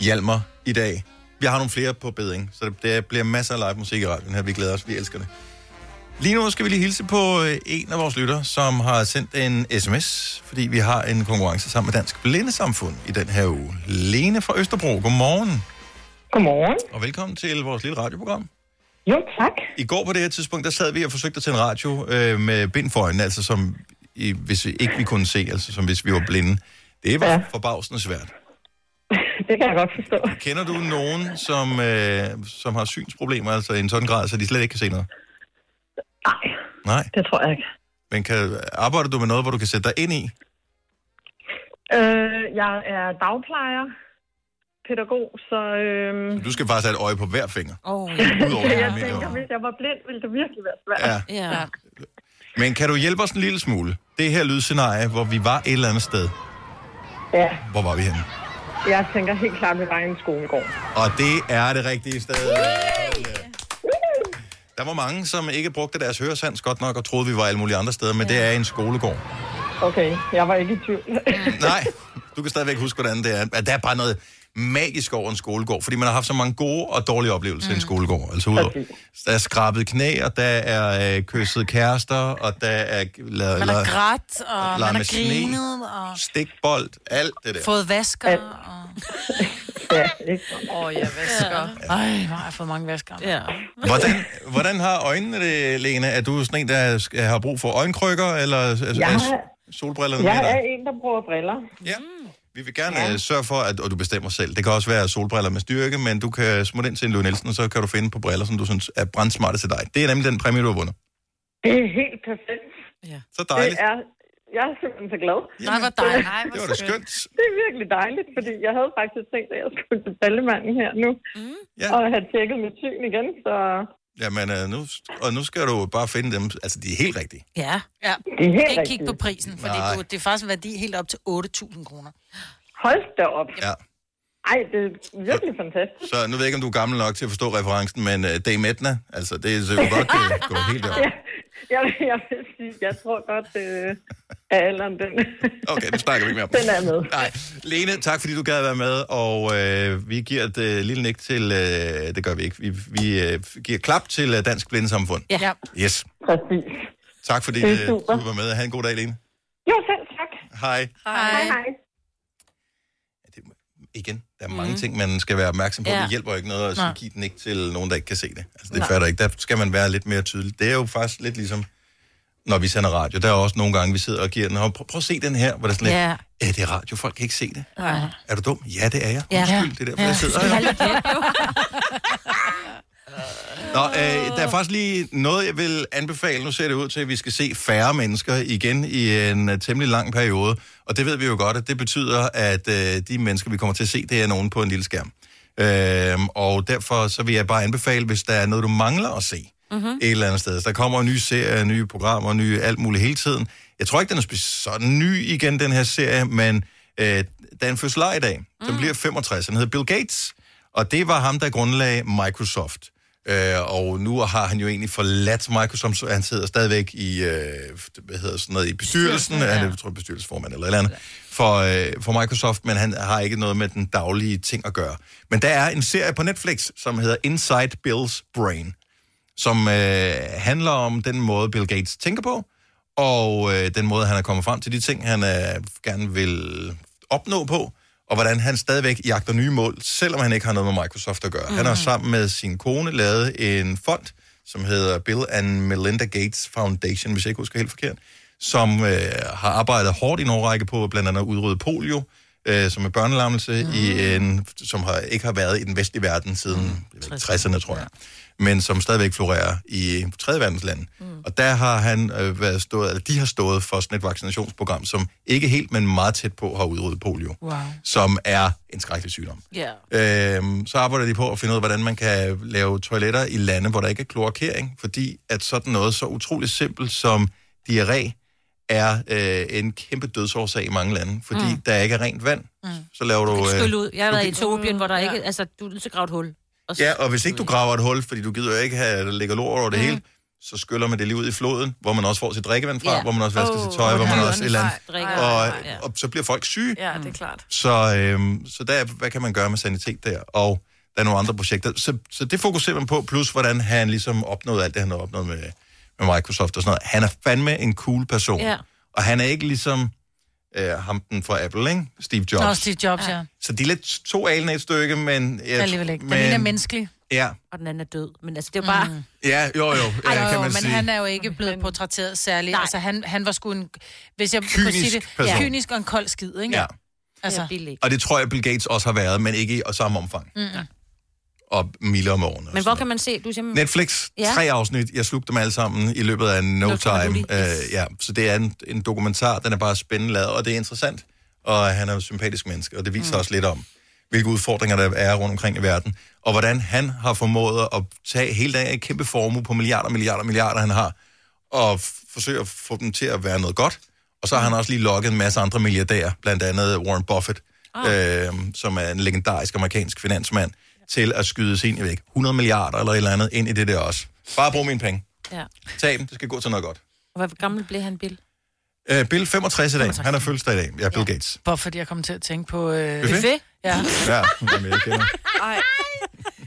S1: Hjalmar i dag. Vi har nogle flere på beding, så det- det bliver masser af live musik i radioen her. Vi glæder os, vi elsker det. Lige nu skal vi lige hilse på øh, en af vores lytter, som har sendt en sms, fordi vi har en konkurrence sammen med Dansk Blindesamfund i den her uge. Lene fra Østerbro, godmorgen.
S7: Godmorgen.
S1: Og velkommen til vores lille radioprogram.
S7: Jo, tak.
S1: I går på det her tidspunkt, der sad vi og forsøgte at tænde radio øh, med bind for øjnene, altså som i, hvis vi ikke vi kunne se, altså som hvis vi var blinde. Det var ja. forbavsende svært.
S7: [laughs] Det kan jeg godt forstå.
S1: Kender du nogen, som, øh, som har synsproblemer, altså i en sådan grad, så de slet ikke kan se noget? Nej. Nej?
S7: Det tror jeg ikke.
S1: Men kan, arbejder du med noget, hvor du kan sætte dig ind i?
S7: Øh, jeg er dagplejer, pædagog, så... Øh...
S1: Du skal faktisk have et øje på hver finger.
S2: Oh,
S1: Udover
S7: [laughs]
S1: det
S7: jeg
S1: almindelige
S7: tænker,
S1: øje.
S7: hvis jeg var blind, ville det virkelig være svært.
S1: Ja.
S2: ja.
S1: Men kan du hjælpe os en lille smule? Det her lydscenarie, hvor vi var et eller andet sted.
S7: ja.
S1: Hvor var vi henne?
S7: Jeg tænker helt klart, at vi var i en skolegård.
S1: Og det er det rigtige sted. Der var mange, som ikke brugte deres høresands godt nok og troede, vi var alle mulige andre steder, men det er en skolegård.
S7: Okay, jeg var ikke i tvivl.
S1: Nej, du kan stadigvæk huske, hvordan det er. At Der er bare noget magisk over en skolegård, fordi man har haft så mange gode og dårlige oplevelser mm. i en skolegård. Altså udover, der er skrabet knæ, og der er øh, kysset kærester, og der er lavet
S3: Man har grædt, og
S1: leget
S3: man har
S1: med sne.
S3: grinet, og
S1: stikbold, alt det der.
S3: fået vasker. Og...
S2: [laughs]
S7: ja, ikke?
S3: Åh, oh, ja, vasker. Ej, hvor har jeg fået mange vasker.
S2: Ja.
S1: Hvordan, hvordan har øjnene det, Lene? Er du sådan en, der sk- har brug for øjenkrykker, eller altså,
S7: Jeg
S1: er
S7: har-
S1: s- solbrillerne
S7: Jeg
S1: med dig?
S7: er en, der bruger briller.
S1: Ja. Vi vil gerne ja. sørge for, at og du bestemmer selv. Det kan også være solbriller med styrke, men du kan smutte ind til en Louis Nielsen, og så kan du finde på briller, som du synes er brandsmarte til dig. Det er nemlig den præmie, du har vundet.
S7: Det er helt perfekt.
S2: Ja.
S1: Så dejligt.
S7: Det er, jeg er simpelthen så glad.
S3: Nej, hvor dejligt. Ej,
S1: hvor Det var da skønt.
S7: Det er virkelig dejligt, fordi jeg havde faktisk tænkt, at jeg skulle til ballemanden her nu, mm.
S1: Ja.
S7: og have tjekket mit syn igen, så
S1: Jamen, øh, nu, og nu skal du bare finde dem. Altså, de er helt rigtige.
S2: Ja.
S3: ja.
S7: Det er
S3: ikke
S7: helt
S3: kigge
S7: rigtigt.
S3: på prisen, for
S1: Nej.
S3: det, det er faktisk en værdi helt op til 8.000 kroner.
S7: hold da op.
S1: Ja.
S7: Ej, det er virkelig fantastisk.
S1: Så nu ved jeg ikke, om du er gammel nok til at forstå referencen, men uh, Dame Edna, altså det er så jo godt uh, gå helt op.
S7: Ja, jeg, vil- jeg vil sige, jeg tror godt, øh, at alderen den,
S1: Okay, det snakker vi ikke mere om.
S7: den er med.
S1: Nej. Lene, tak fordi du gad at være med, og øh, vi giver et øh, lille nik til, øh, det gør vi ikke, vi, vi øh, giver klap til øh, Dansk Blindesamfund.
S2: Ja.
S1: Yes.
S7: [laughs] Præcis.
S1: Tak fordi
S7: Det er
S1: øh, du
S7: super.
S1: var med. Ha' en god dag, Lene.
S7: Jo, selv tak.
S1: Hej.
S7: Hej. Hej.
S1: Igen, der er mange
S7: Mhm.
S1: mm. ting, man skal være opmærksom på. Ja.
S2: Ja.
S1: Det hjælper ikke noget at sige,
S2: Nej.
S1: give den ikke til nogen, der ikke kan se det. Altså, det
S2: Nej.
S1: fatter ikke. Der skal man være lidt mere tydelig. Det er jo faktisk lidt ligesom, når vi sender radio. Der er også nogle gange, vi sidder og giver den. "Hov, Prøv, prøv at se den her, hvor der er sådan
S2: Ja.
S1: lidt, ja. det er radio, folk kan ikke se det.
S2: Nej.
S1: Er du dum? Ja, det er jeg.
S2: Ja.
S1: Undskyld, det er derfor, ja. jeg sidder. her. Nå, øh, der er faktisk lige noget, jeg vil anbefale. Nu ser det ud til, at vi skal se færre mennesker igen i en uh, temmelig lang periode. Og det ved vi jo godt, at det betyder, at uh, de mennesker, vi kommer til at se, det er nogen på en lille skærm. Uh, og derfor så vil jeg bare anbefale, hvis der er noget, du mangler at se
S16: Mhm.
S1: et eller andet sted. Så der kommer nye serier, nye programmer, nye alt muligt hele tiden. Jeg tror ikke, den er spe- sådan ny igen, den her serie, men øh, der er en fødselar i dag. Den bliver 65. Den hedder Bill Gates, og det var ham, der grundlagde Microsoft. Øh, og nu har han jo egentlig forladt Microsoft, så han sidder stadigvæk i, øh, hvad hedder sådan noget, i bestyrelsen,
S16: Bestyrelsen,
S1: ja. han er, jeg tror, bestyrelsesformand eller et eller andet, for, øh, for Microsoft, men han har ikke noget med den daglige ting at gøre. Men der er en serie på Netflix, som hedder Inside Bill's Brain, som øh, handler om den måde, Bill Gates tænker på, og øh, den måde, han er kommet frem til de ting, han øh, gerne vil opnå på, og hvordan han stadigvæk jagter nye mål, selvom han ikke har noget med Microsoft at gøre. Mm. Han har sammen med sin kone lavet en fond, som hedder Bill and Melinda Gates Foundation, hvis jeg ikke husker helt forkert, som øh, har arbejdet hårdt i en årrække på blandt andet at udrydde polio, øh, som er børnelammelse, mm. i en, som har, ikke har været i den vestlige verden siden mm. 60'erne, tror jeg men som stadigvæk florerer i tredje verdens lande. Mm. Og der har han øh, været stået, eller de har stået for sådan et vaccinationsprogram, som ikke helt, men meget tæt på har udryddet polio,
S2: Wow.
S1: som er en skrækkelig sygdom.
S2: Ja.
S1: Øhm, så arbejder de på at finde ud af, hvordan man kan lave toiletter i lande, hvor der ikke er kloakering, fordi at sådan noget så utroligt simpelt som diarré er øh, en kæmpe dødsårsag i mange lande, fordi
S2: Mm.
S1: mm. der ikke er rent vand.
S2: Mm.
S1: Så laver
S2: Du
S1: du...
S2: kan
S1: øh,
S2: skylle ud. Jeg har
S1: du
S2: været i
S1: kan-
S2: Etiopien,
S4: Mm,
S2: hvor der ikke... Altså, du er nødt til at grave et hul. Og så-
S1: Ja, og hvis ikke
S3: Mm.
S1: du graver et hul, fordi du gider jo ikke have, at der ligger lort over det mm. hele, så skyller man det lige ud i floden, hvor man også får sit drikkevand fra,
S2: Ja.
S1: yeah. hvor man også vasker
S2: Åh,
S1: sit tøj,
S2: hvor
S1: hvor man
S2: dyrene
S1: også et eller andet.
S2: drikker.
S1: og,
S2: Nej, nej,
S1: og så bliver folk syge.
S4: Ja, det er klart.
S1: Så, øhm, så der, hvad kan man gøre med sanitet der? Og der er nogle andre projekter. Så, så det fokuserer man på, plus hvordan han ligesom opnåede alt det, han har opnået med, med Microsoft og sådan noget. Han er fandme en cool person.
S3: Ja.
S1: Og han er ikke ligesom øh, ham den fra Apple, ikke? Steve Jobs.
S3: Nå, Steve Jobs, ja.
S1: Så de er lidt to alene af et stykke, men...
S3: ja. Alligevel ikke. Den
S1: men-
S3: ene er menneskelig.
S1: Ja,
S2: Og den anden er død. Men altså, det er jo bare... Mm.
S1: Ja, jo, jo, ja,
S3: Ej,
S1: kan
S3: jo,
S1: man
S3: men
S1: sige.
S3: han er jo ikke blevet portrætteret særligt. Nej. Altså, han, han var sgu en... Hvis jeg kunne
S1: Kynisk
S3: sige det,
S1: person.
S3: kynisk og en kold skid, ikke?
S1: Ja.
S3: Altså,
S1: Og det tror jeg, Bill Gates også har været, men ikke i og samme omfang.
S3: Mm.
S1: Og mile om årene.
S2: Men hvor kan man se... Du siger,
S1: Netflix,
S2: Ja.
S1: tre afsnit. Jeg slugte dem alle sammen i løbet af no,
S2: No Time
S1: time.
S2: Booty, yes.
S1: Øh, ja, så det er en, en dokumentar, den er bare spændende lavet, og det er interessant. Og han er en sympatisk menneske, og det viser mm. også lidt om, hvilke udfordringer der er rundt omkring i verden, og hvordan han har formået at tage hele dagen en kæmpe formue på milliarder, milliarder, milliarder, han har, og f- forsøge at få dem til at være noget godt. Og så har han også lige lokket en masse andre milliardærer, blandt andet Warren Buffett, oh. øh, som er en legendarisk amerikansk finansmand, til at skyde sin, jeg ved ikke, 100 milliarder eller et eller andet ind i det der også. Bare brug mine penge.
S2: Ja.
S1: Tag dem, det skal gå til noget godt.
S2: Og Hvor gammel blev han, Bill?
S1: Øh, Bill 65 i dag, han er fødselsdag i dag. Ja, Bill Gates.
S3: Bare fordi jeg kom til at tænke på... Øh...
S1: Buffet?
S3: Ja.
S1: Ja, [laughs] jamen, jeg kender.
S4: Ej.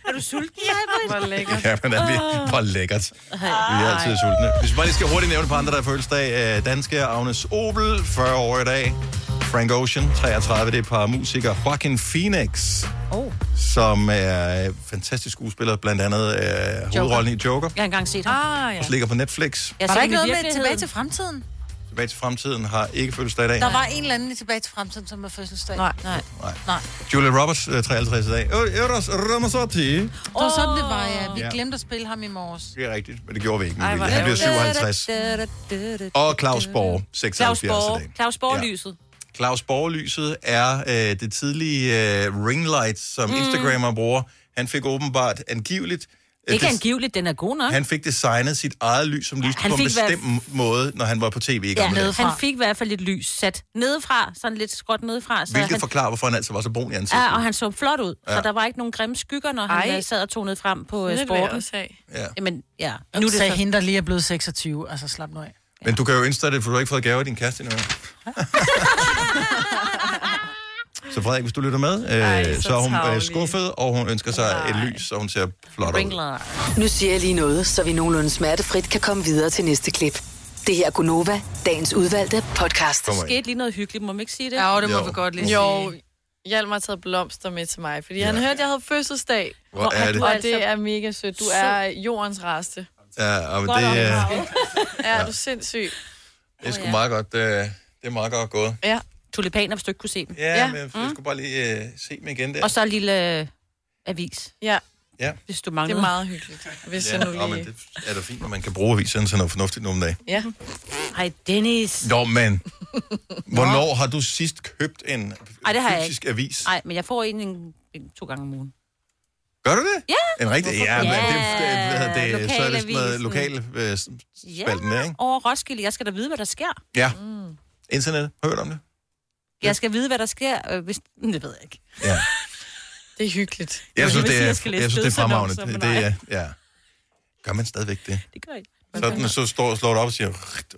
S2: Er du sulten, Maja?
S4: Hvor lækkert.
S1: Ja, men er vi, hvor lækkert.
S4: Ah.
S1: Vi er altid sultne. Hvis vi bare lige skal hurtigt nævne på andre, der er fødselsdag. øh, Danske Agnes Obel, 40 år i dag. Frank Ocean, 33, det er et par musikere. Joaquin Phoenix,
S2: Oh.
S1: som er øh, fantastisk skuespiller, blandt andet øh, hovedrollen i Joker.
S2: Jeg har engang set ham. Ah,
S1: Også ligger på Netflix.
S3: Var der ikke noget med tilbage til fremtiden?
S1: Tilbage til fremtiden har ikke fødselsdag i dag.
S3: Der var en eller anden i tilbage til fremtiden, som var fødselsdag. Nej,
S2: nej.
S1: Nej.
S3: Nej.
S1: Julia Roberts, øh, 53 i dag. Øh, Eros Ramazzotti.
S3: Det var sådan, det var, ja. Vi
S1: Ja.
S3: glemte at spille ham i morges.
S1: Det er rigtigt, men det gjorde vi ikke.
S3: Ej,
S1: Ej,
S3: hvor
S1: han bliver
S3: ærgerligt.
S1: 57. Og Claus Borg,
S2: Claus
S1: 76 i dag.
S2: Borg. Claus Borg-lyset.
S1: Claus Borglyset er øh, det tidlige øh, ringlight, som mm. Instagrammer bruger. Han fik åbenbart angiveligt
S2: Ikke
S1: det-
S2: angiveligt, den er god nok.
S1: Han fik designet sit eget lys som lys
S2: han
S1: på en
S2: fik hvad-
S1: bestemt måde, når han var på tv i
S2: ja,
S1: gamle dage.
S2: han fik i hvert fald lidt lys sat nedefra, sådan lidt skråt nedefra. Så
S1: Hvilket
S2: han,
S1: forklarer, hvorfor han altid var så brun i ansigtet.
S2: ja, og han så flot ud, ja.
S1: Ja.
S2: så der var ikke nogen grimme skygger, når
S3: Ej.
S2: han øh, sad og tog ned frem på øh,
S3: Sådan et vil jeg
S2: sporten.
S3: også
S1: Ja.
S2: Jamen, ja.
S3: Nu er det så... hende, der lige er blevet 26, altså slap nu af.
S1: Men du kan jo indstille det, for du har ikke fået gaver i din
S2: [laughs]
S1: kæreste endnu. så Frederik, hvis du lytter med, øh, så,
S6: så
S1: er hun øh,
S6: tarvelig.
S1: skuffet, og hun ønsker sig et lys, og hun ser flot ud.
S6: Nu siger jeg lige noget, så vi nogenlunde smertefrit kan komme videre til næste klip. Det her er Gunova, dagens udvalgte podcast.
S4: Kom ind.
S2: skete lige noget hyggeligt, må man ikke sige det?
S4: Ja,
S3: det må Jo. vi godt lige
S4: Jo,
S3: sige.
S4: Hjalmar har taget blomster med til mig, fordi han hørte, at jeg havde fødselsdag.
S1: Hvor er
S4: Og
S1: det?
S4: Og det er altså mega sødt. Du er jordens reste.
S1: Ja, og det, øh,
S4: Ja, du er sindssyg.
S1: det er sgu meget godt, øh, det er meget godt gået.
S4: Ja.
S2: Tulipaner, hvis du ikke kunne se dem.
S1: Ja, ja. men jeg jeg skulle bare lige øh, se dem igen der.
S2: Mm. Og så en lille øh, avis.
S4: Ja.
S1: Ja.
S2: Hvis du mangler.
S4: Det er meget hyggeligt, hvis
S1: ja,
S4: jeg nu
S1: nå, men
S4: lige...
S1: det er da fint, når man kan bruge avisen til noget fornuftigt nogle dage.
S4: Ja.
S2: Hej, Dennis.
S1: Nå,
S2: [laughs]
S1: men hvornår har du sidst købt en
S2: Ej, det har jeg
S1: fysisk
S2: ikke.
S1: avis?
S2: Nej, men jeg får en, en, en to gange om ugen.
S1: Gør du det?
S2: Ja.
S1: En rigtig, ja, men det, det, det, det, det så er det sådan noget
S2: Lokalavisen.
S1: lokal øh, s- spalten der, ikke?
S2: over Roskilde. Jeg skal da vide, hvad der sker.
S1: Ja. Mm. Internet, har du hørt om det?
S2: Jeg skal vide, hvad der sker, øh, hvis... Det ved jeg ikke. [laughs]
S1: Ja.
S4: Det er hyggeligt.
S1: Jeg synes,
S2: vil
S1: det
S2: sige,
S1: er,
S2: at
S1: jeg
S2: skal læse
S1: synes, det er fremragende.
S2: dødsannoncer,
S1: Det,
S2: men
S1: det
S2: nej.
S1: er, ja. Gør man stadigvæk det?
S2: Det gør jeg ikke.
S1: Sådan, så står, slår du op og siger,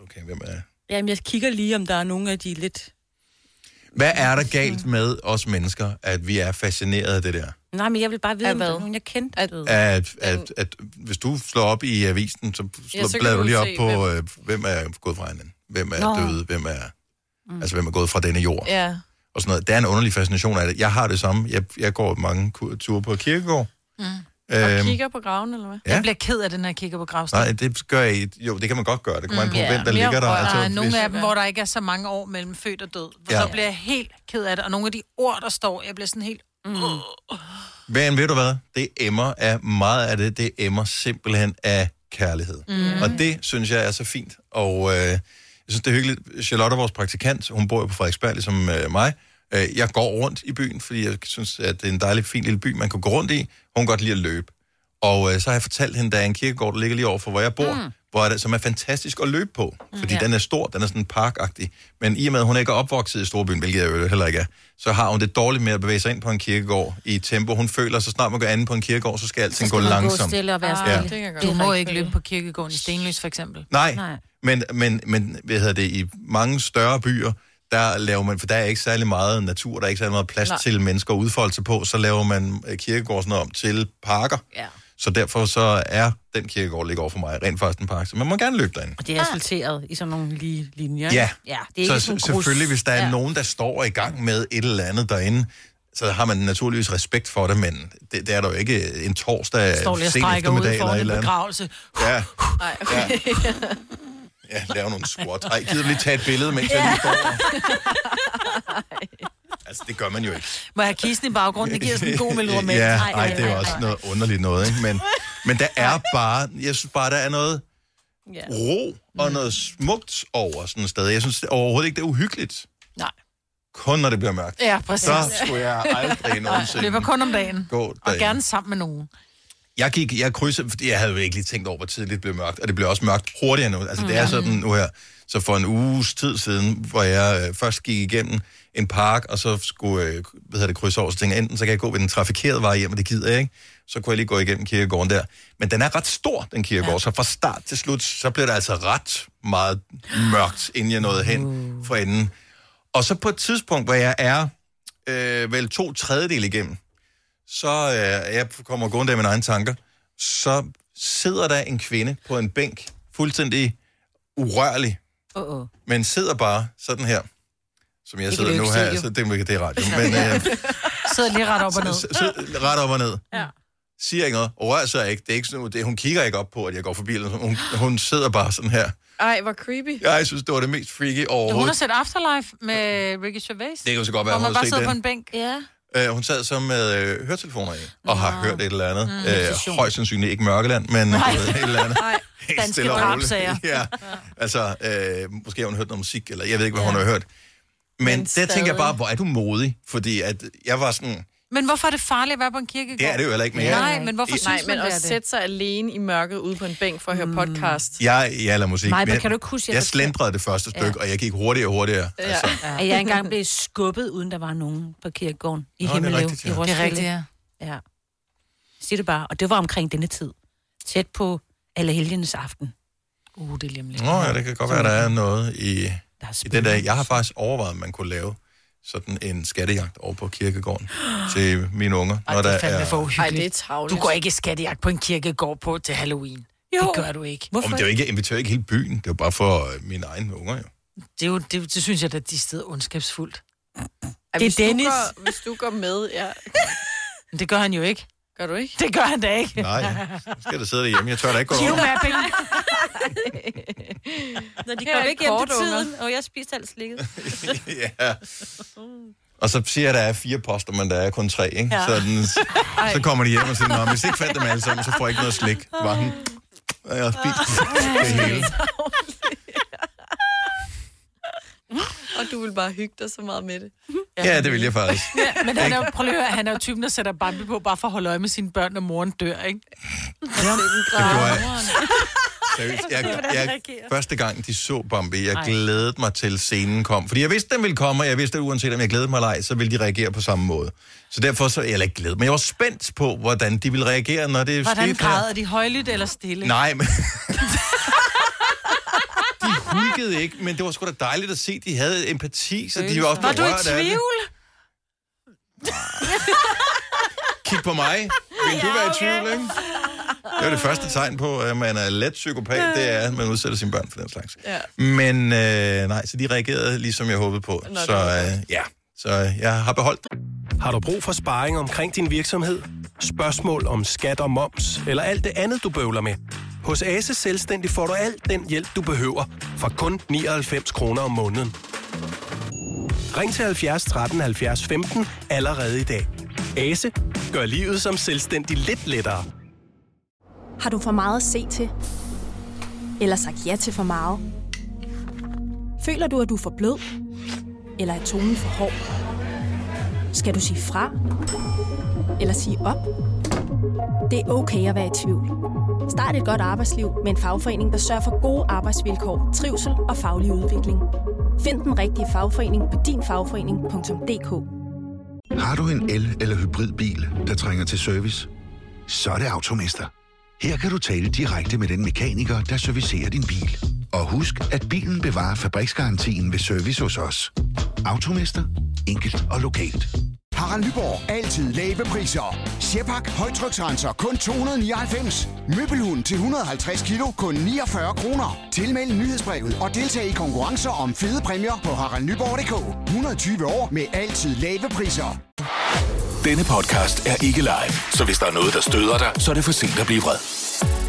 S1: okay, hvem er...
S2: Jamen, jeg kigger lige, om der er nogen af de lidt...
S1: Hvad er der galt
S2: Mm.
S1: med os mennesker, at vi er fascineret af det der?
S2: Nej, men jeg vil bare vide, om der er nogen, jeg kendte. At,
S1: At, at, at hvis du slår op i avisen, så, slår,
S2: Ja, så kan
S1: bladrer
S2: du
S1: du lige op
S2: se,
S1: på,
S2: hvem-
S1: hvem, øh, hvem er gået fra hinanden, hvem er
S2: Nå. Mm.
S1: døde, hvem er, altså, hvem er gået fra denne jord,
S4: Ja.
S1: og sådan noget. Der er en underlig fascination af det. Jeg har det samme. Jeg, jeg går mange kur- ture på kirkegård.
S3: Mm.
S1: Øhm,
S3: Og kigger på graven, eller hvad?
S1: ja.
S3: Jeg bliver ked af det, når jeg kigger på gravsten.
S1: Nej, det gør jeg ikke. Jo, det kan man godt gøre. Det kommer
S2: Mm.
S3: Mm.
S1: an på, hvem der ligger der.
S3: Altså, der er
S1: hvis-
S3: nogle af dem, hvor der ikke er så mange år mellem født og død. For
S1: Ja.
S3: ja. så bliver jeg helt ked af det. Og nogle af de ord, der står, jeg bliver sådan helt... Mm.
S1: Men ved du hvad? Det emmer af meget af det. Det emmer simpelthen af kærlighed.
S3: Mm.
S1: Mm. Og det synes jeg er så fint. Og øh, jeg synes, det er hyggeligt. Charlotte, vores praktikant, hun bor jo på Frederiksberg, ligesom øh, mig. Øh, jeg går rundt i byen, fordi jeg synes, at det er en dejlig, fin lille by, man kan gå rundt i. Hun kan godt lide at løbe. Og øh, så har jeg fortalt hende, der er en kirkegård, der ligger lige overfor, hvor jeg bor, mm. hvor er det, som er fantastisk at løbe på. Fordi
S16: Ja.
S1: mm, den er stor, den er sådan parkagtig. Men i og med, at hun ikke er opvokset i Storbyen, hvilket jeg jo heller ikke er, så har hun det dårligt med at bevæge sig ind på en kirkegård i et tempo. Hun føler, så snart man går anden på en kirkegård, så skal alting gå langsomt.
S3: Du må ikke løbe på kirkegården i Stenløs, for eksempel.
S1: Nej, Men, men, men hvad hedder det, i mange større byer, der laver man, for der er ikke særlig meget natur, der er ikke særlig meget plads
S3: Nej.
S1: Nej. til mennesker at udfolde sig på, så laver man øh, kirkegård sådan noget om til parker.
S2: Ja.
S1: Så derfor så er den kirkegård, der ligger over for mig, rent faktisk en park, så man må gerne løbe derinde.
S2: Og det er asfalteret i sådan nogle lige linjer.
S1: Ja,
S2: ja det er ikke
S1: så
S2: sådan en
S1: se-
S2: grus.
S1: selvfølgelig, hvis der er ja. nogen, der står i gang med et eller andet derinde, så har man naturligvis respekt for det, men det, det er der jo ikke øh, en torsdag
S3: Står lige og
S1: sen
S3: strækker ud
S1: eftermiddag eller et
S3: foran
S1: eller
S3: en
S1: andet.
S3: begravelse.
S1: Ja,
S4: Nej, okay.
S1: ja, lave nogle squat. Ej, gider du lige tage et billede, mens jeg lige står?
S3: [laughs]
S1: Altså, det gør man jo ikke.
S3: Må jeg have kisten i baggrunden? Det giver sådan en
S1: [laughs]
S3: god melodi.
S1: Ja, ej, det er jo også noget underligt noget, ikke? Men, men der er bare, jeg synes bare, der er noget ro og noget smukt over sådan et sted. Jeg synes overhovedet ikke, det er uhyggeligt.
S3: Nej.
S1: Kun når det bliver mørkt.
S3: Ja, præcis.
S1: Så skulle jeg aldrig
S3: [laughs] Nej,
S1: nogensinde
S3: Løber kun om dagen.
S1: gå
S3: Og
S1: derinde.
S3: gerne sammen med nogen.
S1: Jeg gik, jeg krydsede, fordi jeg havde jo ikke lige tænkt over, hvor tidligt det blev mørkt, og det blev også mørkt hurtigere nu. Altså, det er
S3: Mm.
S1: sådan nu her. Så for en uges tid siden, hvor jeg øh, først gik igennem en park, og så skulle øh, hvad hedder det, krydse over, så tænkte jeg, enten så kan jeg gå ved den trafikerede vej hjem, og det gider jeg ikke, så kunne jeg lige gå igennem kirkegården der. Men den er ret stor, den kirkegård, ja. så fra start til slut, så blev det altså ret meget mørkt, inden jeg nåede hen for enden. Og så på et tidspunkt, hvor jeg er øh, vel to tredjedel igennem, så øh, jeg kommer gående af mine egne tanker, så sidder der en kvinde på en bænk, fuldstændig urørlig,
S2: Åh, åh.
S1: men sidder bare sådan her, som jeg
S3: Det kan
S1: sidder
S3: du
S1: nu
S3: ikke se,
S1: her,
S3: jo.
S1: så det, er- det er radio, men øh,
S3: [laughs] Sidder lige ret op og ned.
S1: så, så, ret op og ned.
S3: Ja.
S1: Siger ikke noget, rører sig ikke, det er ikke sådan, det, hun kigger ikke op på, at jeg går forbi, eller sådan. hun, hun sidder bare sådan her.
S4: Ej, hvor creepy.
S1: Jeg synes, det var det mest freaky
S3: Hun har
S1: overhovedet.
S3: set Afterlife med Ricky Gervais.
S1: Det kan jo så godt være,
S3: Hvor
S1: hun
S3: man
S1: har
S3: bare
S1: set
S3: sidder på
S1: den.
S3: en bænk.
S2: Ja.
S1: Øh, hun sad så med øh, høretelefoner i, og har hørt et eller andet.
S3: Mm.
S1: Mm, øh, højst sandsynligt ikke Mørkeland, men du
S3: Nej.
S1: ved, et eller andet.
S3: [laughs] Nej.
S1: Helt
S3: Danske
S1: stille og roligt.
S3: drabsager.
S1: [laughs] ja. Altså, øh, måske har hun hørt noget musik, eller jeg ved ikke, hvad hun har hørt. Men, der tænker jeg
S3: stadig.
S1: bare, hvor er du modig? Fordi at jeg var sådan,
S3: Men hvorfor er det farligt at være på en kirkegård?
S1: Det er det jo heller ikke mere.
S3: Nej, men hvorfor
S4: Nej,
S3: synes
S4: men
S3: man, det
S4: at
S3: er det?
S4: sætte sig alene i mørket ude på en bænk for at høre
S17: Mm.
S4: podcast.
S1: Jeg, jeg lader musik.
S4: Nej, men
S1: men
S4: kan du ikke huske,
S1: jeg,
S4: jeg
S1: jeg
S4: fortalte-
S1: slendrede det første stykke,
S2: Ja.
S1: og jeg gik hurtigere og hurtigere.
S2: Ja. At jeg engang blev skubbet, uden der var nogen på kirkegården i
S1: Nå, det er
S2: Himmeløv
S1: rigtigt, ja.
S2: i Roskilde.
S3: Det er rigtigt, ja.
S2: ja. Sig det bare. Og det var omkring denne tid. Tæt på Allerhelgenes aften.
S3: Uh, det er lige om lidt.
S1: Nå ja, det kan godt være, der er noget i,
S2: i
S1: den der. Jeg har faktisk overvejet, om man kunne lave sådan en skattejagt over på kirkegården til mine unger.
S3: Ej, det er fandme for
S4: Ej,
S3: uhyggeligt.
S4: det er travligt.
S3: Du går ikke i skattejagt på en kirkegård på til Halloween. Jo. Det gør du ikke.
S1: Hvorfor? Om det er jo ikke, jeg inviterer ikke hele byen. Det er jo bare for øh, mine egne unger, jo.
S3: Det, er jo, det, er jo- det synes jeg, at de steder ondskabsfuldt.
S4: Ej,
S3: Det er
S4: hvis
S3: Dennis.
S4: Du går, hvis du går med, ja.
S3: Men det gør han jo ikke.
S4: Gør du
S17: [laughs]
S4: ikke?
S3: [laughs] Det gør han da ikke. [laughs]
S1: Nej, ja. så skal jeg da sidde derhjemme. Jeg tør da ikke gå over. [laughs]
S3: Geomapping.
S4: [laughs]
S2: Når de
S4: Her er
S2: kom
S4: et
S2: ikke hjem til
S4: kort, unger.
S2: tiden, og jeg spiste alt slikket.
S1: ja. Og så siger jeg, at der er fire poster, men der er kun tre, ikke?
S2: Ja.
S1: Ja. Sådan,
S2: Ej.
S1: så kommer de hjem og siger, "Nå, hvis jeg ikke fandt dem alle sammen, så får jeg ikke noget slik. Det var han. Og jeg har
S4: [laughs]
S1: spist det hele.
S4: Og du vil bare hygge dig så meget med det.
S1: Ja, det vil jeg faktisk.
S3: Ja, men han er, jo, [laughs] prøv lige at høre, han er jo typen, der sætter Bambi på, bare for at holde øje med sine børn, når moren dør, ikke? Ja,
S1: Det gjorde jeg. Seriøst, jeg, jeg, første gang, de så Bambi, jeg
S3: Ej.
S1: glædede mig til scenen kom. Fordi jeg vidste, den ville komme, og jeg vidste, at uanset om jeg glædede mig eller ej, så ville de reagere på samme måde. Så derfor så, eller ikke glæde, men jeg var spændt på, hvordan de ville reagere, når det
S3: Hvordan
S1: skete.
S3: græder de? Højlydt eller stille?
S1: Nej, altså, men... [laughs] de hulkede ikke, men det var sgu da dejligt at se, de havde empati, så de var også
S3: Var du i
S1: berørt af det.
S3: tvivl?
S1: Kig på mig. Vil du være i tvivl, ikke? Det er jo det første tegn på, at man er let psykopat, det er, at man udsætter sine børn for den slags.
S4: Ja.
S1: Men øh, nej, så de reagerede ligesom jeg håbede på.
S8: Nå,
S1: Nå,
S8: det
S1: så
S8: var
S1: øh, ja, så øh, jeg har beholdt.
S8: Har du brug for sparring omkring din virksomhed? Spørgsmål om skat og moms, eller alt det andet, du bøvler med? Hos Ase Selvstændig får du alt den hjælp, du behøver, for kun 99 kroner om måneden. Ring til 70 13 70 15 allerede i dag. Ase gør livet som selvstændig lidt lettere.
S18: Har du for meget at se til? Eller sagt ja til for meget? Føler du, at du er for blød? Eller er tonen for hård? Skal du sige fra? Eller sige op? Det er okay at være i tvivl. Start et godt arbejdsliv med en fagforening, der sørger for gode arbejdsvilkår, trivsel og faglig udvikling. Find den rigtige fagforening på dinfagforening.dk.
S10: Har du en el- eller hybridbil, der trænger til service? Så er det Automester. Her kan du tale direkte med den mekaniker, der servicerer din bil. Og husk, at bilen bevarer fabriksgarantien ved service hos os. Automester. Enkelt og lokalt.
S11: Harald Nyborg. Altid lave priser. Sjehpak. Højtryksrenser. Kun 299. Møbelhund til 150 kilo. Kun 49 kroner. Tilmeld nyhedsbrevet og deltag i konkurrencer om fede præmier på haraldnyborg.dk. 120 år med altid lave priser.
S16: Denne podcast er ikke live, så hvis der er noget, der støder dig, så er det for sent at blive vred.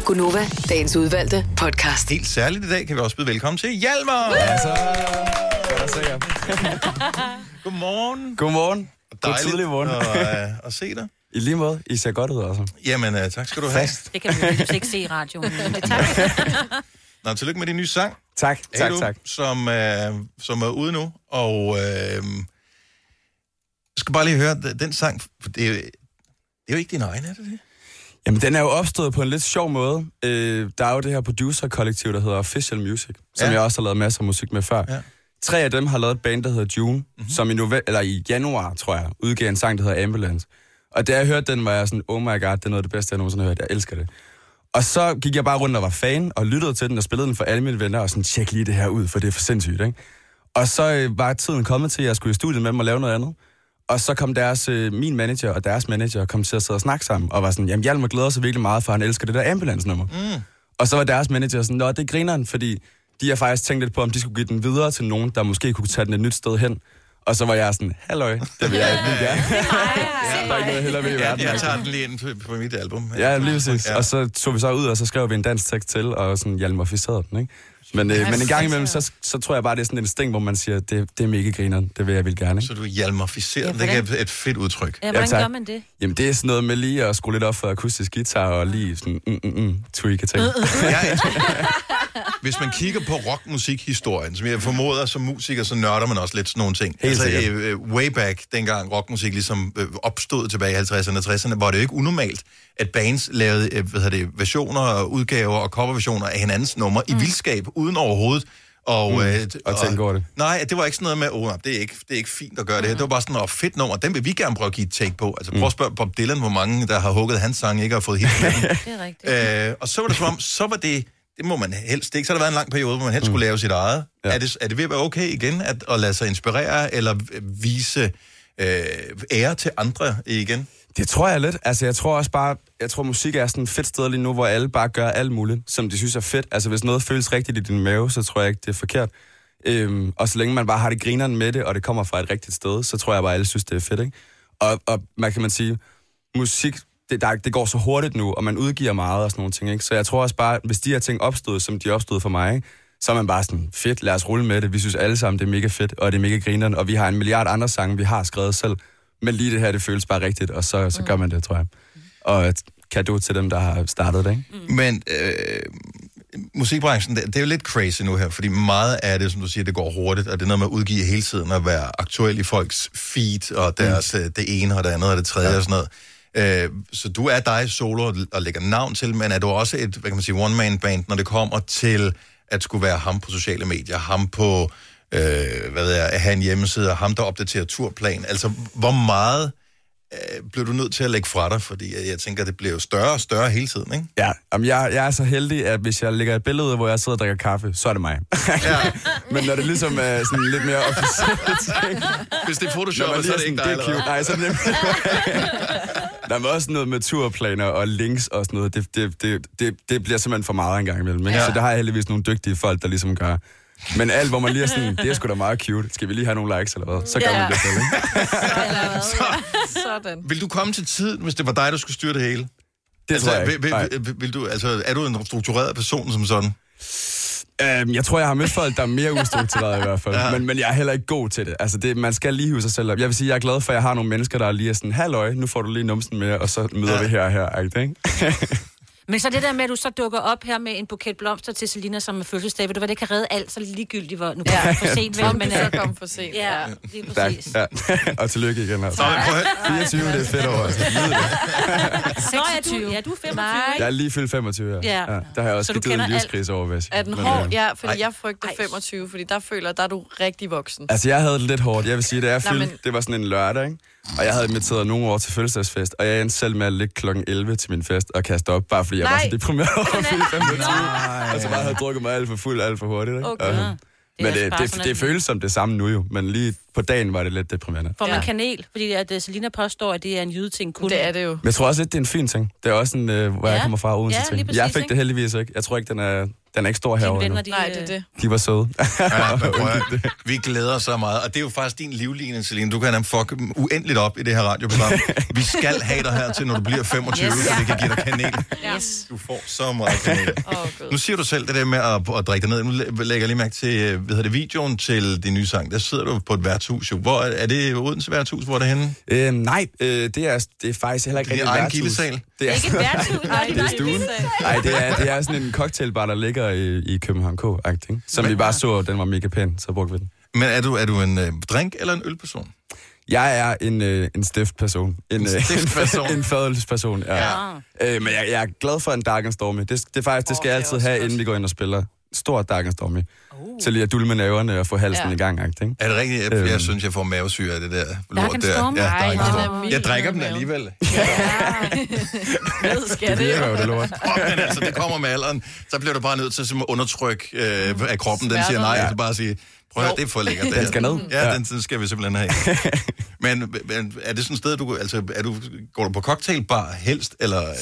S6: Gunova, dagens udvalgte podcast.
S1: Helt særligt i dag kan vi også byde velkommen til Hjalmar. Ja, så. Godmorgen.
S17: Godmorgen. God
S1: Dejligt
S17: tidlig morgen.
S1: at, øh, at se dig.
S17: I lige måde. I ser godt ud også.
S1: Jamen, øh, tak skal du have.
S17: Fast.
S2: Det kan vi jo heldigvis ikke se i
S4: [laughs]
S2: radioen. men det- Tak.
S1: Nå, tillykke med din nye sang.
S17: Tak, tak,
S1: du,
S17: tak.
S1: Som, øh, som er ude nu, og øh, jeg skal bare lige høre, d- den sang, for det, er jo- det er jo ikke din egen, er det det?
S17: Jamen, den er jo opstået på en lidt sjov måde. Øh, der er jo det her producer-kollektiv, der hedder Official Music, som
S1: Ja.
S17: jeg også har lavet masser af musik med før.
S1: Ja. Mhm.
S17: Tre af dem har lavet et band, der hedder June, mm-hmm. som i, nove- eller i januar, tror jeg, udgav en sang, der hedder Ambulance. Og da jeg hørte den, var jeg sådan, oh my god, det er noget af det bedste, jeg nogensinde har hørt. Jeg elsker det. Og så gik jeg bare rundt og var fan, og lyttede til den, og spillede den for alle mine venner, og sådan, tjek lige det her ud, for det er for sindssygt, ikke? Og så øh, var tiden kommet til, at jeg skulle i studiet med dem og lave noget andet. Og så kom deres, øh, min manager og deres manager kom til at sidde og snakke sammen, og var sådan, jamen Hjalmar glæder sig virkelig meget, for han elsker det der ambulance-nummer.
S19: Mm.
S17: Og så var deres manager sådan, nå, det griner han, fordi de har faktisk tænkt lidt på, om de skulle give den videre til nogen, der måske kunne tage den et nyt sted hen. Og så var jeg sådan, halløj, det vil jeg ikke lige
S1: [laughs]
S17: gerne. [laughs] Der er ikke noget hellere ved i
S1: Ja,
S17: verden.
S1: Jeg tager den lige ind på, på mit album.
S17: Ja, lige præcis. Og så tog vi så ud, og så skrev vi en dansk tekst til, og sådan hjalmarificerede den, ikke? Men, øh,
S1: Ja,
S17: men en gang
S1: sindssygt.
S17: imellem, så, så tror jeg bare, det er sådan en instinkt, hvor man siger, det, det er mega grineren, det vil jeg vil gerne, ikke?
S1: Så du hjalmarificerer, ja, det
S17: hvordan-
S1: er et fedt udtryk.
S2: Ja, hvordan
S17: tak.
S2: gør man
S17: [laughs]
S2: det?
S17: Jamen, det er sådan noget med lige at skrue lidt op for akustisk guitar og lige sådan, mm, mm, mm, tweake ting.
S1: Jeg, hvis man kigger på rockmusikhistorien, som jeg formoder som musiker, så nørder man også lidt sådan nogle ting. Helt altså,
S17: sikkert.
S1: øh, øh, way back, dengang rockmusik ligesom øh, opstod tilbage i 50'erne og 60'erne, var det jo ikke unormalt, at bands lavede øh, hvad hedder det, versioner og udgaver og coverversioner af hinandens numre mm. i vildskab, uden overhovedet. Og,
S17: Mm,
S1: øh,
S17: at tænke over det.
S1: Nej, det var ikke sådan noget med, åh, oh, det, er ikke, det er ikke fint at gøre det her. Det var bare sådan, åh, fedt nummer, den vil vi gerne prøve at give et take på. Altså,
S17: Mm.
S1: prøv at spørge Bob Dylan, hvor mange, der har hugget hans sang, ikke har
S17: [laughs]
S1: fået helt
S2: Det er
S1: [laughs]
S2: rigtigt.
S1: Øh, og så var det som om, så var det, det må man helst ikke, så har der været en lang periode, hvor man helst skulle lave sit eget. Ja. Er, det, er det ved at være okay igen at, at lade sig inspirere eller vise øh, ære til andre igen?
S17: Det tror jeg lidt. Altså, jeg tror også bare, jeg tror musik er sådan et fedt sted lige nu, hvor alle bare gør alt muligt, som de synes er fedt. Altså, hvis noget føles rigtigt i din mave, så tror jeg ikke, det er forkert. Øhm, og så længe man bare har det grineren med det, og det kommer fra et rigtigt sted, så tror jeg bare, alle synes, det er fedt, ikke? Og, og man kan man sige, musik, det, der, det går så hurtigt nu, og man udgiver meget og sådan nogle ting, ikke? Så jeg tror også bare, hvis de her ting opstod, som de opstod for mig, ikke? så er man bare sådan, fedt, lad os rulle med det. Vi synes alle sammen, det er mega fedt, og det er mega grineren, og vi har en milliard andre sange, vi har skrevet selv. Men lige det her, det føles bare rigtigt, og så, så gør man det, tror jeg. Og et kado til dem, der har startet det, ikke?
S1: Men øh, musikbranchen, det, det er jo lidt crazy nu her, fordi meget af det, som du siger, det går hurtigt, og det er noget med at udgive hele tiden og være aktuel i folks feed, og deres, mm. det ene og det andet og det tredje ja. og sådan noget. Øh, så du er dig solo og, og lægger navn til, men er du også et, hvad kan man sige, one-man-band, når det kommer til at skulle være ham på sociale medier, ham på, øh, hvad ved jeg, at have en hjemmeside, og ham, der opdaterer turplan. Altså, hvor meget øh, blev du nødt til at lægge fra dig? Fordi jeg, jeg tænker, det bliver jo større og større hele tiden, ikke?
S17: Ja, jamen jeg, jeg er så heldig, at hvis jeg lægger et billede ud, hvor jeg sidder og drikker kaffe, så er det mig. [laughs] Ja. Men når det ligesom er sådan lidt mere
S1: [laughs]
S17: officielt... ikke?
S1: Hvis det
S17: Når
S1: er
S17: man
S1: photoshoppet, så er det
S17: lige
S1: ikke dig
S17: sådan, det er
S1: allerede.
S17: cute. Nej, så er det nemlig- Der er også noget med turplaner og links og sådan noget. Det, det, det, det, det bliver simpelthen for meget en gang imellem. Ikke?
S1: Ja.
S17: Ja. Så der har jeg heldigvis nogle dygtige folk, der ligesom gør... Men alt, hvor man lige er sådan, det er sgu da meget cute. Skal vi lige have nogle likes eller hvad? Så gør
S4: Ja.
S17: man det selv, ikke?
S4: Sådan.
S1: Vil du komme til tiden, hvis det var dig, der skulle styre det hele?
S17: Det
S1: altså,
S17: tror jeg
S1: Vil,
S17: ikke.
S1: vil, vil, vil du, altså, er du en struktureret person
S17: [laughs]
S1: som sådan?
S17: Øhm, jeg tror, jeg har mødt folk, der er mere ustruktureret i hvert fald.
S1: [laughs] Ja.
S17: Ja. Men, men jeg er heller ikke god til det. Altså, det, man skal lige hive sig selv op. Jeg vil sige, jeg er glad for, at jeg har nogle mennesker, der lige er sådan, halløj, nu får du lige numsen med, og så møder ja. vi her og her. Ikke?
S2: Men så det der med, at du så dukker op her med en buket blomster til Selina, som er fødselsdag, ved du hvad, det kan redde alt, så ligegyldigt, hvor nu kommer ja. for
S4: [laughs]
S2: sent, vel,
S4: Om
S2: men
S4: du
S2: øh,
S4: så kom for sent.
S2: Ja, lige
S17: Tak.
S2: præcis.
S17: Ja. [laughs] og tillykke igen. Altså.
S1: Nå, men prøv at
S17: 24, det er fedt over. Altså. Nyd det.
S2: Nå, ja, du, ja, du er 25.
S17: Jeg er lige fyldt 25 her.
S4: Ja.
S17: Ja. Der har jeg også
S4: Så du
S17: givet en
S4: kender
S17: livskrise over, vil jeg sige.
S4: Er den
S17: Men,
S4: hård?
S17: øh,
S4: Ja, fordi
S17: ej.
S4: jeg frygter 25, fordi der føler, der er du rigtig voksen.
S17: Altså, jeg havde det lidt hårdt. Jeg vil sige, da jeg
S4: Nå,
S17: fyldte,
S4: men-
S17: det var sådan en lørdag, ikke? Og jeg havde inviteret nogle år til fødselsdagsfest, og jeg endte selv med at ligge kl. 11 til min fest og kaste op, bare fordi jeg var
S2: Nej.
S17: så deprimeret
S4: [laughs]
S17: over at fylde 25.
S2: Nej.
S17: Altså [laughs] bare havde drukket mig alt for fuld, alt for hurtigt, ikke?
S2: Okay.
S17: Og-
S2: Det er
S17: men
S2: også
S17: det,
S2: bare
S17: det,
S2: sådan,
S17: det,
S2: at-
S17: føles som det samme nu jo, men lige på dagen var det lidt deprimerende.
S2: Får man kanel? Fordi at øh, Selina påstår, at det er en jydeting kun. Det
S4: er det jo.
S17: Men jeg tror også lidt, det er en fin ting. Det er også en, øh, hvor ja.
S2: Ja.
S17: jeg kommer fra, Odense
S2: Ja, lige
S17: ting.
S2: præcis,
S17: Jeg fik
S2: ikke?
S17: det heldigvis ikke. Jeg tror ikke, den er, den er ikke stor herovre endnu.
S4: Nej, det er det.
S17: De var søde.
S1: Ja, men prøv, at høre, vi glæder os så meget. Og det er jo faktisk din livligende, Celine. Du kan have fuck uendeligt op i det her
S17: [laughs]
S1: radioprogram. Vi skal have dig her til, når du bliver 25, yes.
S5: Yes.
S1: så vi kan give dig kanel.
S2: Yes.
S1: Du får så meget kanel. Nu siger du selv det der med at, at drikke dig ned. Nu læ- lægger jeg lige mærke til øh, hvad hedder det, videoen til din nye sang. Der sidder du på et værtshus. Jo. Hvor, er er det Odense værtshus? Hvor er det henne?
S17: Øhm, nej, øh, det, er, det er faktisk heller ikke
S1: Din
S17: rigtig
S1: egen
S17: værtshus.
S1: gildesal?
S17: Det er,
S2: Ikke et
S17: [laughs]
S2: værtshus, nej,
S17: det er stuen. Nej, det er, det er sådan en cocktailbar, der ligger i, i København K, ikke? som vi bare så, den var mega pæn, så brugte vi den.
S1: Men er du, er du en øh, drink eller en ølperson?
S17: Jeg er en, øh, en stiftperson. [laughs] En, øh,
S1: stiftperson.
S17: en fadelsperson, ja.
S1: Ja.
S17: ja. Øh, men jeg, jeg, er glad for en Dark and Stormy. Det, det, er faktisk, det skal jeg altid have, inden vi går ind og spiller. Stor Dark and Stormy. Uh. Til lige at dulme naverne og få halsen
S1: Ja.
S17: i gang, ikke? Øhm.
S1: Er det rigtigt? Jeg, jeg synes, jeg får mavesyre af det der
S17: Dark
S1: lort
S17: and
S1: der.
S17: Stormy?
S1: Ja,
S17: Ej,
S1: Dark and
S17: den er
S1: Stormy.
S17: mild
S1: Jeg drikker
S17: i
S1: den
S17: maven.
S1: alligevel.
S4: det
S17: virker jo, det lort.
S1: Åh, men altså, det kommer med alderen. Så bliver du bare nødt til at undertrykke øh, af kroppen. Den siger nej,
S17: Smerterne.
S1: og så bare sige, prøv at høre, det er for lækkert. det
S17: Den
S1: her."
S17: skal ned.
S1: Ja,
S17: Ja.
S1: den, den skal vi simpelthen
S17: [laughs]
S1: have. men, men er det sådan et sted, du, altså, er du, går du på cocktailbar helst, eller... Øh,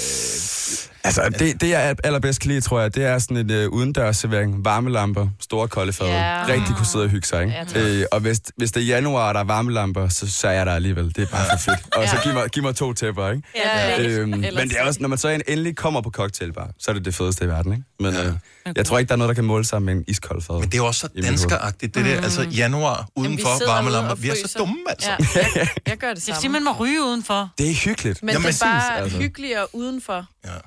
S17: Altså, det, det jeg allerbedst kan lide, tror jeg, det er sådan et øh, udendørsservering, varmelamper, store kolde fad.
S1: Ja.
S17: Yeah. Rigtig kunne sidde og hygge sig, ikke?
S1: Ja, tak.
S17: Yeah, øh, og hvis, hvis det er januar, og der er varmelamper, så, så er jeg der alligevel. Det er bare for fedt. Og så giv mig, giv mig to tæpper, ikke?
S4: Ja, ja.
S17: Øhm, men
S4: Ellers
S17: det er også, når man så endelig kommer på cocktailbar, så er det det fedeste i verden, ikke? Men øh, jeg tror ikke, der er noget, der kan måle sig med en iskold fad. Men
S1: det er jo også så danskeragtigt, Det der, altså januar udenfor
S4: Mm. sidder
S1: varme
S4: ude
S1: lamper.
S4: og
S1: Vi er så
S4: fryser.
S1: dumme, altså.
S4: Ja, jeg,
S17: [laughs]
S4: jeg gør det
S3: Det er
S4: samme.
S3: fordi, man må ryge udenfor.
S17: Det er hyggeligt.
S4: Men det er bare altså. hyggeligere udenfor.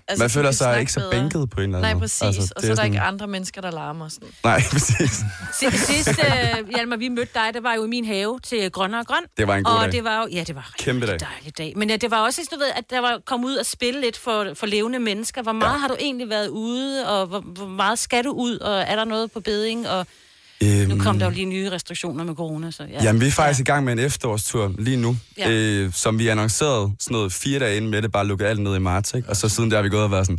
S4: Altså, Ja.
S17: Man føler sig ikke så bænket på en eller anden
S4: Nej,
S17: måde.
S4: præcis.
S17: Altså,
S4: Altså, og så
S17: det
S4: er
S17: er
S4: der
S17: sådan-
S4: ikke andre mennesker, der larmer. og Sådan.
S17: Nej, [laughs] præcis.
S2: Si- Sidst, øh, Hjalmar, vi mødte dig, der var jo i min have til Grønne og Grøn.
S17: Det var en god
S2: og
S17: dag.
S2: det var jo, ja, det var
S17: Kæmpe dag.
S2: en dejlig dag. Men ja, det var også, du ved, at der var kommet ud og spille lidt for, for levende mennesker. Hvor meget ja. har du egentlig været ude, og hvor, hvor meget skal du ud, og er der noget på beding? Og
S17: Øhm,
S2: nu kom der jo lige nye restriktioner med corona, så ja.
S17: Jamen, vi er faktisk i gang med en efterårstur lige nu,
S2: Ja.
S17: ja. øh, som vi annoncerede sådan noget fire dage inden med det, bare lukkede alt ned i marts, ikke? Og så siden der har vi gået og været sådan,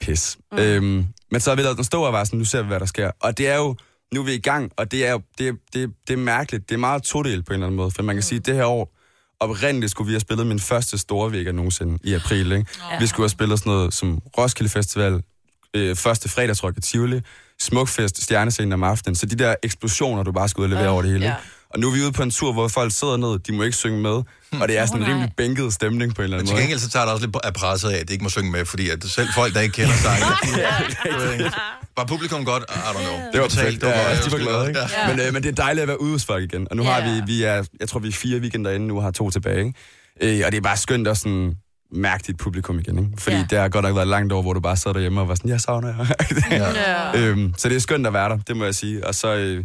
S17: pis. Mm. Øhm, men så har vi lavet den store og var sådan, nu ser vi, hvad der sker. Og det er jo, nu er vi i gang, og det er jo, det, er- det, er- det er mærkeligt. Det er meget todelt på en eller anden måde, for man kan sige, at det her år, oprindeligt skulle vi have spillet min første store vega nogensinde i april, ikke?
S16: Ja.
S17: Ja. Vi skulle have spillet sådan noget som Roskilde Festival, øh, første fredagsrock i Tivoli, smukfest, stjernescenen om aftenen, så de der eksplosioner, du bare skal ud og levere
S16: Ja.
S17: over det hele.
S16: Ja.
S17: Ja. Og nu er vi ude på en tur, hvor folk sidder ned, de må ikke synge med, og det er sådan en
S1: Åh, nej.
S17: rimelig bænket stemning på en eller
S1: Men
S17: anden
S1: til
S17: måde.
S1: gengæld så tager der også lidt af presset af, at de ikke må synge med, fordi at selv folk, der ikke
S4: [laughs]
S1: kender sig, var publikum godt? I don't know.
S17: Det var
S1: Betalt,
S17: perfekt.
S1: det var
S17: Ja,
S1: godt,
S17: de var glade, ikke?
S1: Ja.
S17: Men, øh, men det er dejligt at være ude hos folk igen. Og nu har vi, vi er, jeg tror, vi er fire weekender inde nu og har to tilbage. Ikke? Øh, og det er bare skønt at sådan mærke dit publikum igen. Ikke? Fordi
S16: Ja.
S17: det har godt nok været langt over, hvor du bare sad derhjemme og var sådan, jeg savner jer.
S16: Ja.
S17: [laughs] øhm, så det er skønt at være der, det må jeg sige. Og så øh,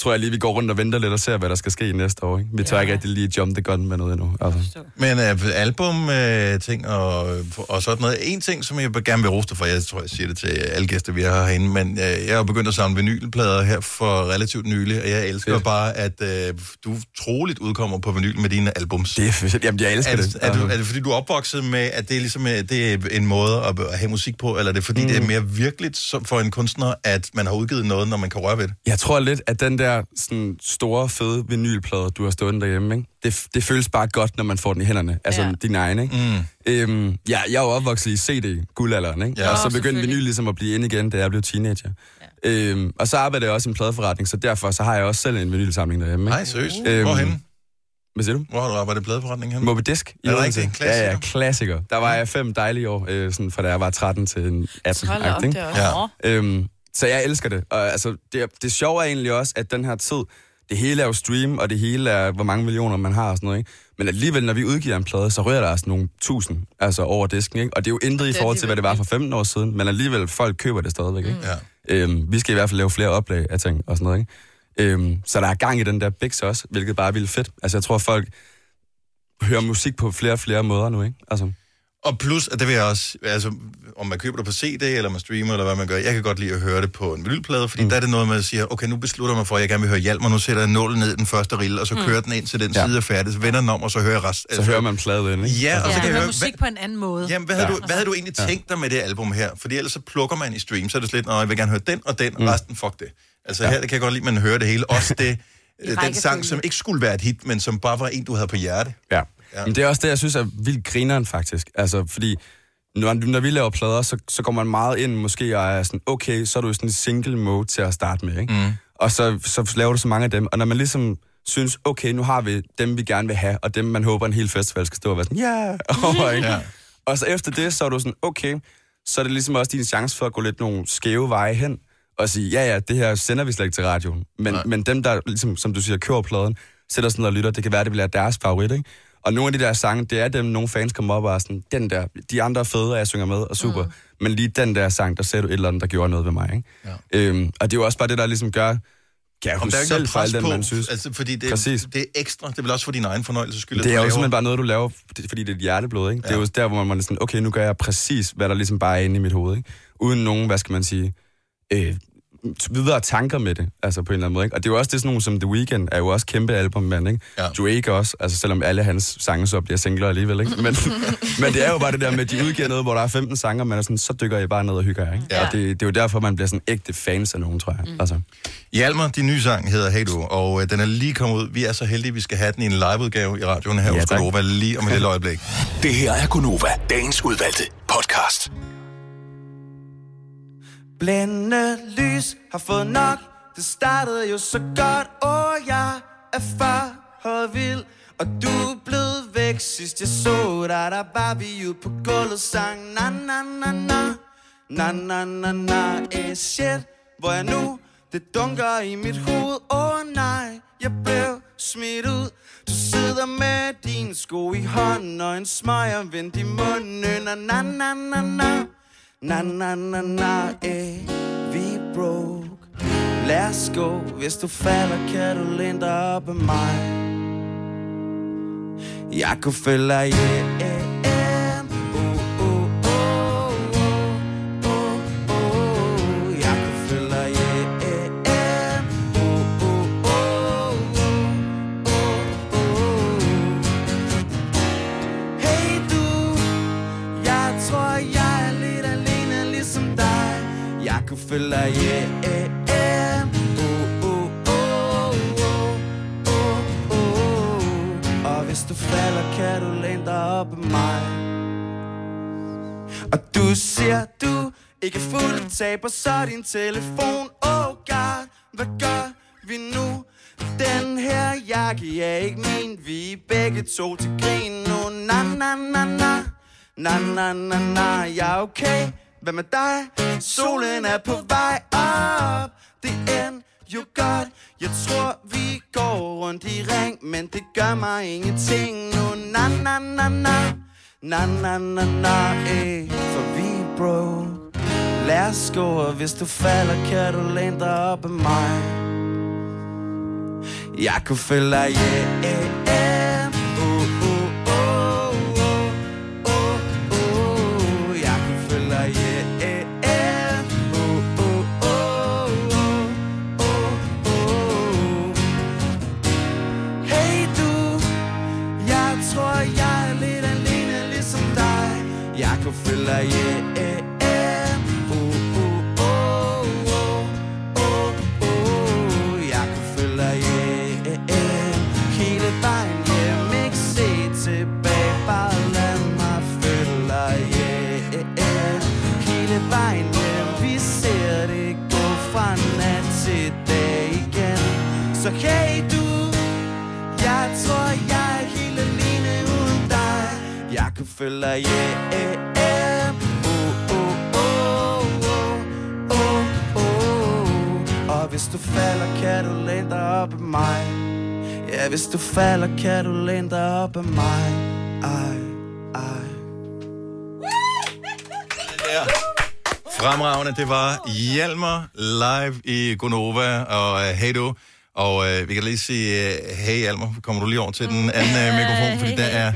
S17: tror jeg lige, vi går rundt og venter lidt og ser, hvad der skal ske næste år. Ikke? Vi tør ikke rigtig lige jump the gun med noget endnu. Altså.
S1: Men øh, album, øh, ting og, og sådan noget. En ting, som jeg gerne vil roste for, jeg tror, jeg siger det til alle gæster, vi har herinde, men øh, jeg er jo begyndt at samle vinylplader her for relativt nylig, og jeg elsker Fedt. bare, at øh, du troligt udkommer på vinyl med dine albums.
S17: Det er fedt. Jamen, jeg elsker
S1: er,
S17: det. Altså.
S1: Er, du, er det, fordi du er opvokset med, at det er, ligesom, øh, det er en måde at, at have musik på, eller er det, fordi mm. det er mere virkeligt som- for en kunstner, at man har udgivet noget, når man kan røre ved det?
S17: Jeg tror lidt, at den der sådan, store, fede vinylplade, du har stået derhjemme, ikke? Det, det føles bare godt, når man får den i hænderne. Altså
S16: Ja.
S17: ja. din egen, ikke? Mm. Øhm, ja, jeg er jo opvokset i CD-guldalderen, ikke?
S16: Ja.
S17: Ja, og
S16: Nå,
S17: så begyndte
S16: selvfølgelig.
S17: vinyl ligesom at blive ind igen, da jeg blev teenager. Ja. Øhm, og så arbejder jeg også i en pladeforretning, så derfor så har jeg også selv en vinylsamling derhjemme. Øhm,
S1: Nej, seriøst? Hvorhenne?
S17: Hvad siger du?
S1: Hvor har du arbejdet i pladeforretningen henne?
S17: Moby Disk.
S1: Er der
S17: Odense.
S1: ikke en
S17: Ja, ja, klassiker. Der var jeg fem dejlige år, øh, sådan, fra da jeg var 13 til en 18.
S16: Hold da op,
S17: ikke?
S16: det er også-
S17: Øhm, så jeg elsker det. Og altså, det, det sjove er egentlig også, at den her tid, det hele er jo stream, og det hele er, hvor mange millioner man har og sådan noget, ikke? Men alligevel, når vi udgiver en plade, så rører der altså nogle tusind altså over disken, ikke? Og det er jo intet i
S16: Det er
S17: forhold til, hvad det var for 15 år siden, men alligevel, folk køber det stadigvæk, ikke?
S16: Mm.
S17: Øhm, vi skal i hvert fald lave flere oplag af ting og sådan noget, ikke? Øhm, så der er gang i den der biks også, hvilket bare er vildt fedt. Altså, jeg tror, folk hører musik på flere og flere måder nu, ikke? Altså,
S1: Og plus, at det vil jeg også, altså, om man køber det på CD, eller man streamer, eller hvad man gør, jeg kan godt lide at høre det på en vinylplade, fordi mm. der er det noget, man siger, okay, nu beslutter man for, at jeg gerne vil høre Hjalmar, nu sætter jeg nålen ned i den første rille, og så
S3: Mm.
S1: mm. kører den ind til den ja. side er færdig, så vender den om, og så hører jeg resten.
S17: så hører man pladen, ikke?
S1: Ja, og så
S3: Ja,
S1: kan jeg
S3: høre
S1: høre,
S3: musik
S1: hvad,
S3: på en anden måde.
S1: jamen, hvad, havde du, hvad havde du egentlig
S3: Ja.
S1: tænkt dig med det album her? Fordi ellers så plukker man i stream, så er det slet, nej, jeg vil gerne høre den og den, og resten, fuck det. Altså ja. her der kan jeg godt lide, at man hører det hele. Også det, øh, den sang,
S17: rækkefølge.
S1: som ikke skulle være et hit, men som bare var en, du havde på hjerte.
S17: Ja. ja. Men det er også det, jeg synes er vildt grineren, faktisk. Altså, fordi når, når vi laver plader, så, så går man meget ind måske og er sådan, okay, så er du i sådan en single mode til at starte med, ikke? Mm. Og så, så laver du så mange af dem, og når man ligesom synes, okay, nu har vi dem, vi gerne vil have, og dem, man håber, en hel festival skal stå og være sådan, yeah! over, ikke?
S16: Ja.
S17: ja. [laughs] Og så efter det, så er du sådan, okay, så er det ligesom også din chance for at gå lidt nogle skæve veje hen, og sige, ja, ja, det her sender vi slet ikke til radioen. Men, men dem, der, ligesom, som du siger, kører pladen, sætter sådan noget og lytter, det kan være, det bliver deres favorit, ikke? Og nogle af de der sange, det er dem, nogle fans kommer op og er sådan, den der, de andre er fede, og jeg synger med, og super. Mm. Men lige den der sang, der sagde du et eller andet, der gjorde noget ved mig, ikke? Ja. Øhm, og det er jo også bare det, der ligesom gør, kan jeg
S1: Om
S17: huske
S1: der er ikke
S17: selv
S1: noget
S17: for alt
S1: pres
S17: den,
S1: på,
S17: man synes.
S1: altså, fordi det,
S17: Præcis.
S1: det er ekstra. Det er vel også for din egen fornøjelses skyld. at
S17: Det er
S1: du
S17: jo
S1: laver-
S17: simpelthen bare noget, du laver, det- fordi det er et hjerteblod, ikke? Ja. Det er jo der, hvor man er sådan, okay, nu gør jeg præcis, hvad der ligesom bare er inde i mit hoved, ikke? Uden nogen, hvad skal man sige, øh, t- videre tanker med det, altså på en eller anden måde, ikke? Og det er jo også det sådan nogle, som The Weeknd er jo også kæmpe albummand, ikke? Ja. Drake også, altså selvom alle hans sange så bliver singler alligevel, ikke? Men, [laughs] men det er jo bare det der med, at de udgiver noget, hvor der er 15 sange, og man er sådan, så dykker jeg bare ned og hygger jer, ikke? Ja. Og det, det er jo derfor, man bliver sådan ægte fans af nogen, tror jeg. Mm. Altså.
S1: Hjalmar, din nye sang hedder Hey Du, og øh, den er lige kommet ud. Vi er så heldige, vi skal have den i en liveudgave i radioen her
S16: Ja,
S1: ja, hos
S16: tak.
S1: Gunova lige om et lille øjeblik.
S16: Det her er Gunova, dagens udvalgte podcast.
S19: Blændende lys har fået nok Det startede jo så godt Åh, oh, jeg er far vild Og du er blevet væk Sidst jeg så dig Der var vi ude på gulvet Sang na na na na Na na na na eh, shit Hvor er jeg nu? Det dunker i mit hoved Åh oh, Åh nej, jeg blev smidt ud Du sidder med din sko i hånden Og en smøger vendt i munden Og na na na na Na na na na, eh, vi er broke Lad os gå, hvis du falder, kan du læne dig op af mig Jeg kunne følge dig hjem Oh, oh, Jeg kunne følge dig hjem Oh, oh, Hey du, jeg tror jeg er lidt alene ligesom dig Jeg kunne følge dig hjem Oh, oh, oh, oh, oh, oh. Og hvis du falder, kan du læne dig op af mig Og du siger du ikke er fuld Taber så din telefon Oh god, hvad gør vi nu? Den her jakke er ikke min Vi er begge to til grin nu Na na na na Na na na na Jeg er okay Hvad med dig? Solen er på vej op Det end jo godt Jeg tror vi går rundt i ring Men det gør mig ingenting nu Na na na na Na na na na eh, For vi er broke Lad os gå, og hvis du falder, kan du læne dig op af mig Jeg kunne følge dig hjem Uh, uh, uh, uh, uh, uh. Jeg kunne følge dig hjem Uh, uh, uh, uh, uh, uh. Hey du, jeg tror jeg er lidt alene ligesom dig Jeg kunne følge dig hjem Oh, jeg kan følge dig hjem Hele vejen hjem Ikke se tilbage Bare lad mig følge dig hjem Hele vejen hjem Vi ser det gå fra nat til dag igen Så hey du Jeg tror jeg er helt alene uden dig Jeg kan følge dig hjem Oh, oh, oh, oh, oh, oh. Og hvis du falder, kan du læne dig op af mig Ja, hvis du falder, kan du læne dig op af mig Ej, ej
S1: Fremragende, det var Hjalmar live i Gonova og uh, Hey Du. Og uh, vi kan lige sige, uh, hey Hjalmar, kommer du lige over til den anden uh, mikrofon, fordi der er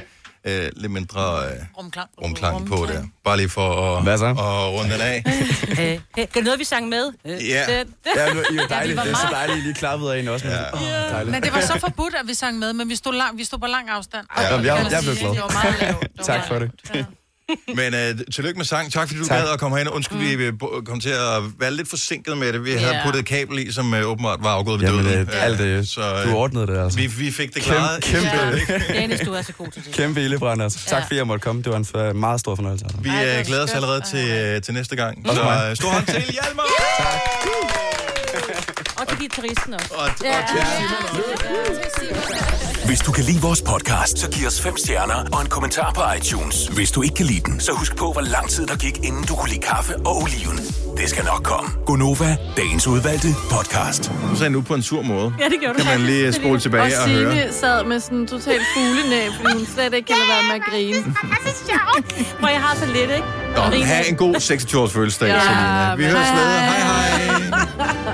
S1: uh, lidt mindre uh,
S2: Rumklang.
S1: rumklang på der. Bare lige for at, Hvad så? at runde den af.
S2: Øh, det er noget, vi sang med. Øh,
S1: Ja.
S2: det-
S17: Ja, nu, I er jo
S2: vi
S17: dejligt.
S2: var
S17: Det er så
S2: meget-
S17: dejligt, I lige klappede af en også. Ja. Oh, dejligt.
S3: Men det var så forbudt, at vi sang med, men vi stod, lang, vi stod på lang afstand.
S17: Ja,
S3: Og-
S17: jeg, jeg,
S3: kan
S17: jeg
S3: man
S17: blev
S3: sige,
S17: glad.
S3: Det var meget lavt.
S17: tak for det.
S1: [laughs] Men øh, tillykke med sang. Tak fordi du gad at komme herind. Undskyld, mm. vi øh, bo- kom til at være lidt forsinket med det. Vi havde
S17: Ja.
S1: puttet et kabel i, som øh, åbenbart var afgået ved
S17: Jamen,
S1: døden.
S17: øh, alt det. [laughs] Du ordnede det, altså.
S1: Vi, vi fik det
S17: Kæm-
S1: klaret. i
S17: kæmpe-
S1: sidste øjeblik.
S2: Dennis, du er så god til det.
S17: Kæmpe ildebrand, altså. Tak fordi jeg måtte komme. Det var en f- meget stor fornøjelse. Altså.
S1: Vi øh, glæder os allerede til, øh, til næste gang.
S17: Også
S1: Så
S17: mig.
S1: øh, stor hånd til Hjalmar!
S2: Og til guitaristen også.
S1: Og, og til
S3: Mm.
S16: Hvis du kan lide vores podcast, så giv os fem stjerner og en kommentar på iTunes. Hvis du ikke kan lide den, så husk på, hvor lang tid der gik, inden du kunne lide kaffe og oliven. Det skal nok komme.
S1: Gonova,
S16: Dagens udvalgte podcast.
S1: Nu sagde nu på en sur måde.
S4: Ja, det gjorde du
S1: Kan man
S4: faktisk.
S1: lige øh,
S4: Det [laughs]
S1: spole
S4: Og
S1: tilbage og høre.
S4: Signe sad med sådan en total fuglenæb, fordi hun slet ikke kan lade være med at [laughs] grine. Det er så sjovt.
S2: Hvor jeg har så lidt, ikke?
S1: Nå, have en god 26-års fødselsdag,
S4: Ja,
S1: Selina. Vi høres ved. Hej, hej.